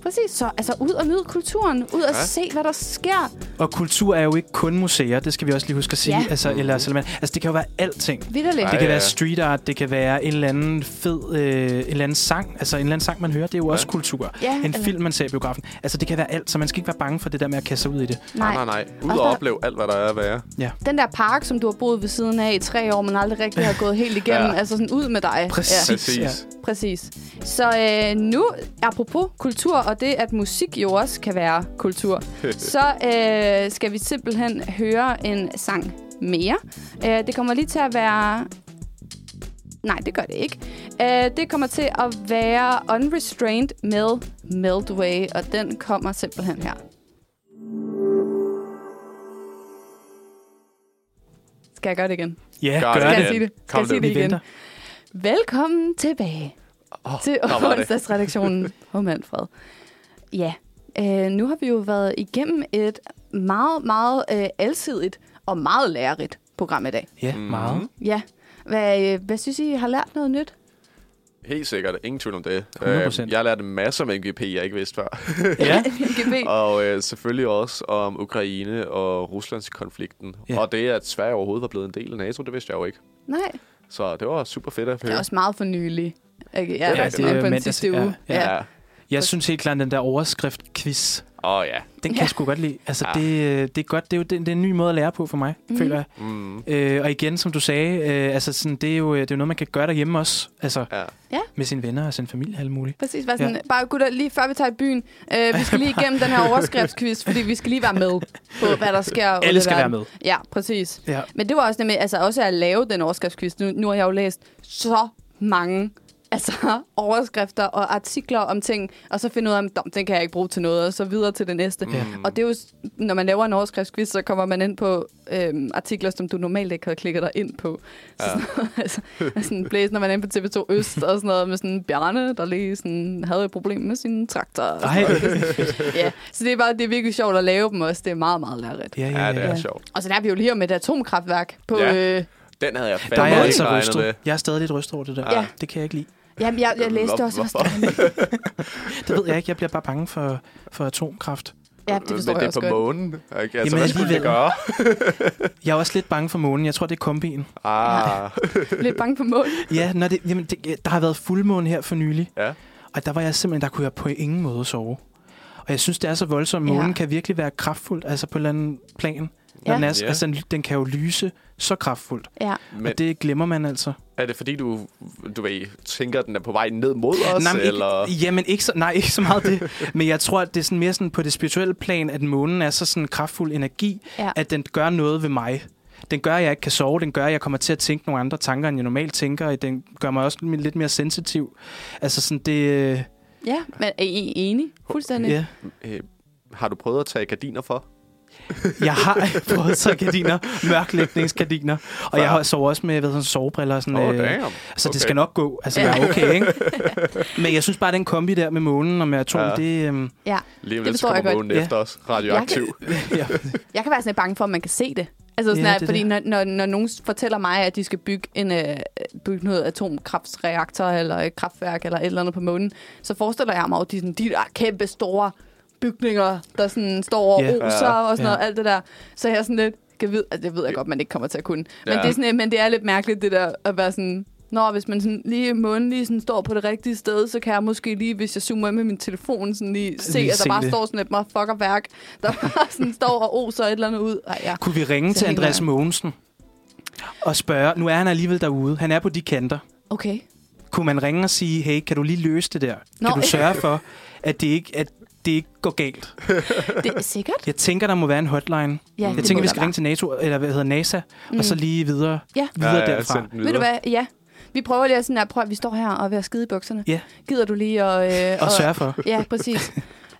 Præcis, så altså ud og nyde kulturen, ud og Ja. se, hvad der sker. Og kultur er jo ikke kun museer, det skal vi også lige huske at sige. Ja. Ja. Altså, eller, Salman. altså, det kan jo være alting. Vitterligt. Ej, Det kan ja, være ja. street art, det kan være en eller anden fed øh, en eller anden sang. Altså en eller anden sang, man hører, det er jo også kultur. Ja, en eller- film, man ser i biografen. Altså det kan være alt, så man skal ikke være bange for det der med at kaste sig ud i det. Nej, nej, nej. Ud Også og der- opleve alt, hvad der er at være. Den der park, som du har boet ved siden af i tre år, men aldrig rigtig har gået helt igennem. Ja. Altså sådan ud med dig. Præcis. Ja. Præcis. Præcis. Så øh, nu, apropos kultur, og det at musik jo også kan være kultur, så øh, skal vi simpelthen høre en sang mere. Øh, det kommer lige til at være... Nej, det gør det ikke. Øh, det kommer til at være Unrestrained med Meltway, og den kommer simpelthen her. Skal jeg gøre det igen? Ja, Gør gør Skal det. jeg sige det. det? Skal Kom jeg sige det nu. Vi igen? venter. Velkommen tilbage Åh, til der var det. onsdagsredaktionen på Manfred. Ja, øh, nu har vi jo været igennem et meget, meget øh, alsidigt og meget lærerigt program i dag. Ja, Mhm. meget. Ja, hvad, øh, hvad synes I, I har lært noget nyt? Helt sikkert. Ingen tvivl om det. 100%. Øh, Jeg har lært en masse om MGP, jeg ikke vidste før. Ja. GB. og øh, selvfølgelig også om Ukraine og Ruslands konflikten. Ja. Og det, at Sverige overhovedet var blevet en del af NATO, det vidste jeg jo ikke. Nej, Så det var super fedt at det høre. er også meget for nylig. Okay, ja, Ja, det det er er på den mandags- sidste ja, uge. ja. ja. Jeg synes helt klart, den der overskrift-quiz, Åh oh, ja. den kan Ja. jeg sgu godt lide. Altså, Ja. det, øh, det er godt. Det er jo det, det er en ny måde at lære på for mig, mm. Mhm. føler jeg. Mm, Øh, og igen, som du sagde, øh, altså sådan, det, er jo, øh, det er jo noget, man kan gøre derhjemme også. Altså, ja. med sine venner og sin familie og alt muligt. Præcis, var sådan, ja. bare gutter, lige før vi tager i byen, øh, vi skal lige igennem den her overskriftsquiz, fordi vi skal lige være med på, hvad der sker. ude i Alle skal være verden. med. Ja, præcis. Ja. Men det var også nemlig, altså også at lave den overskriftsquiz. Nu, nu har jeg jo læst så mange altså, overskrifter og artikler om ting, og så finde ud af, om "Dom, den kan jeg ikke bruge til noget, og så videre til det næste. Mm. Ja. Og det er jo, s- når man laver en overskriftsquiz, så kommer man ind på øhm, artikler, som du normalt ikke havde klikket dig ind på. Så ja. sådan, altså, sådan blæs, når man er inde på TV2 Øst, og sådan noget med sådan Bjarne, der lige sådan, havde et problem med sine traktorer. og sådan Ej. noget. ja. Så det er bare, det er virkelig sjovt at lave dem også. Det er meget, meget lærerigt. Ja, ja, ja, det ja. er ja. sjovt. Og så der er vi jo lige om et atomkraftværk på... Ja. Ja. Øh, Den havde jeg Der fandme er jeg ikke altså regnet med. rystet. Jeg er stadig lidt rystet over det der. Ja. Det kan jeg ikke lide. jamen, jeg, jeg Øhm, læste hvor- også... hvorfor? Det ved jeg ikke. Jeg bliver bare bange for, for atomkraft. Ja, det forstår jeg Men det også er på godt. månen. Ikke? Altså, Jamen, Jamen, hvad skulle vi alligevel. gøre? Jeg er også lidt bange for månen. Jeg tror, det er kombien. Ah, Lidt bange på mål. Ja, når det, jamen, det, der har været fuldmåne her for nylig. ja. Og der var jeg simpelthen, der kunne jeg på ingen måde sove. Og jeg synes, det er så voldsomt. Ja. Månen kan virkelig være kraftfuldt, altså på en eller anden plan. Ja. Når den, er, Ja. altså, den- den kan jo lyse så kraftfuldt. Ja. Men Og det glemmer man altså. er det fordi, du, du ved, tænker, at den er på vej ned mod os? nej, men eller? Ikke, jamen, ikke så, nej, ikke så meget det. Men jeg tror, at det er sådan mere sådan på det spirituelle plan, at månen er så sådan en kraftfuld energi, Ja. ja. at den gør noget ved mig. Den gør, at jeg ikke kan sove. Den gør, at jeg kommer til at tænke nogle andre tanker, end jeg normalt tænker. Den gør mig også lidt mere sensitiv. Altså sådan det... øh, ja, men er I enige? Fuldstændig. Ja. Øh, har du prøvet at tage gardiner for? Jeg har prøvet så gardiner, mørklægningsgardiner. Og jeg har sovet også med hvad sådan, sovebriller og sådan Åh, øh, damn. Så Okay. det skal nok gå. Altså, Ja. jeg er okay, ikke? Men jeg synes bare, at den kombi der med månen og med atom, Ja. ja. det... øhm, Ja. Lige om Det lidt, så forstår jeg kommer godt. månen Ja. efter os. Radioaktiv. ja. Jeg kan være sådan lidt bange for, at man kan se det. Altså sådan Ja, ja, det er fordi det. når, når, når nogen fortæller mig, at de skal bygge, en, øh, bygge noget atomkraftsreaktor eller et kraftværk eller et eller andet på månen, så forestiller jeg mig jo de, sådan, de der kæmpe store bygninger, der sådan står og Ja. yeah. oser og sådan Ja. noget, alt det der. Så jeg er sådan lidt, kan vide, altså, det ved jeg godt, man ikke kommer til at kunne. Men, Ja. det er sådan, øh, men det er lidt mærkeligt, det der at være sådan, Nå, hvis man sådan lige månedlig sådan står på det rigtige sted, så kan jeg måske lige, hvis jeg zoomer ind med min telefon, sådan lige se, Lige at der se bare det. står sådan et motherfucker-værk, der bare sådan står og oser et eller andet ud. Ej, ja. Kunne vi ringe Så til hænger Andreas jeg. Mogensen og spørge, nu er han alligevel derude, han er på de kanter. Okay. Kunne man ringe og sige, hey, kan du lige løse det der? Nå. Kan du sørge for, at det ikke, at det ikke går galt? Det er sikkert. Jeg tænker, der må være en hotline. Ja, Jeg tænker, vi skal ringe til NATO, eller hvad hedder NASA, mm. og så lige videre, Ja. videre ja, altså- derfra. send den Ved du videre. hvad? Ja. Vi prøver lige at sådan her, prøv at vi står her og er ved at skide i bukserne. Ja. Gider du lige at... Øh, Og sørge for. Ja, præcis.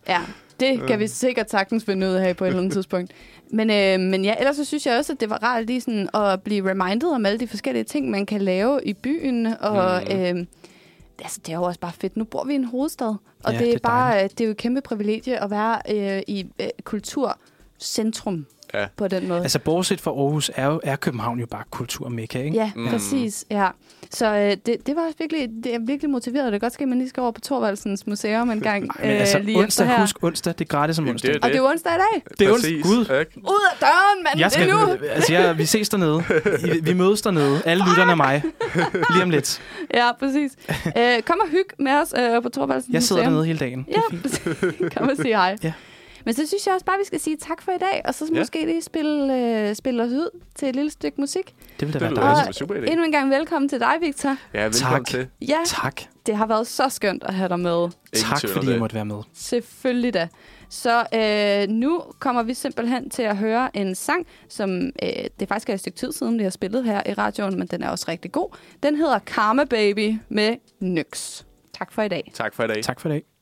Ja, det kan vi Øh. sikkert sagtens finde ud af på et eller andet tidspunkt. Men, øh, men ja, ellers så synes jeg også, at det var rart lige sådan at blive reminded om alle de forskellige ting, man kan lave i byen. Og mm. øh, altså, det er jo også bare fedt. Nu bor vi i en hovedstad, og Ja, det, er det er bare, det er jo et kæmpe privilegie at være øh, i øh, kulturcentrum Ja. på den måde. Altså, bortset fra Aarhus, er, jo, er København jo bare kulturmekka, ikke? Ja, mm. præcis. Ja. Så øh, det, det var også virkelig, det er virkelig motiveret. Det er godt ske, at man lige skal over på Torvaldsens Museum en gang. Men altså, øh, lige efter onsdag, her. husk onsdag, det er gratis om Jamen, onsdag. det er Og det er onsdag i dag. det er Præcis, onsdag. Gud. ikke? Ud af døren, mand! Jeg skal, Det er nu! altså, jeg, vi ses dernede. I- Vi mødes dernede. Alle lytterne af mig. Lige om lidt. Ja, præcis. Øh, kom og hyg med os øh, på Torvaldsen Jeg sidder Museum. dernede hele dagen. Det er Ja, fint. præcis. kom og sige hej. Ja. Men så synes jeg også bare, at vi skal sige tak for i dag, og så Ja. måske lige spille, øh, spille os ud til et lille stykke musik. Det vil da Det være lyder dejligt. som en super idé. Endnu en gang velkommen til dig, Victor. Ja, velkommen Tak. til. Ja, Tak. det har været så skønt at have dig med. Ingen Tak, tvivl om fordi det. jeg måtte være med. Selvfølgelig da. Så øh, nu kommer vi simpelthen til at høre en sang, som øh, det faktisk er et stykke tid siden, vi har spillet her i radioen, men den er også rigtig god. Den hedder Karma Baby med Nyx. Tak for i dag. Tak for i dag. Tak for i dag.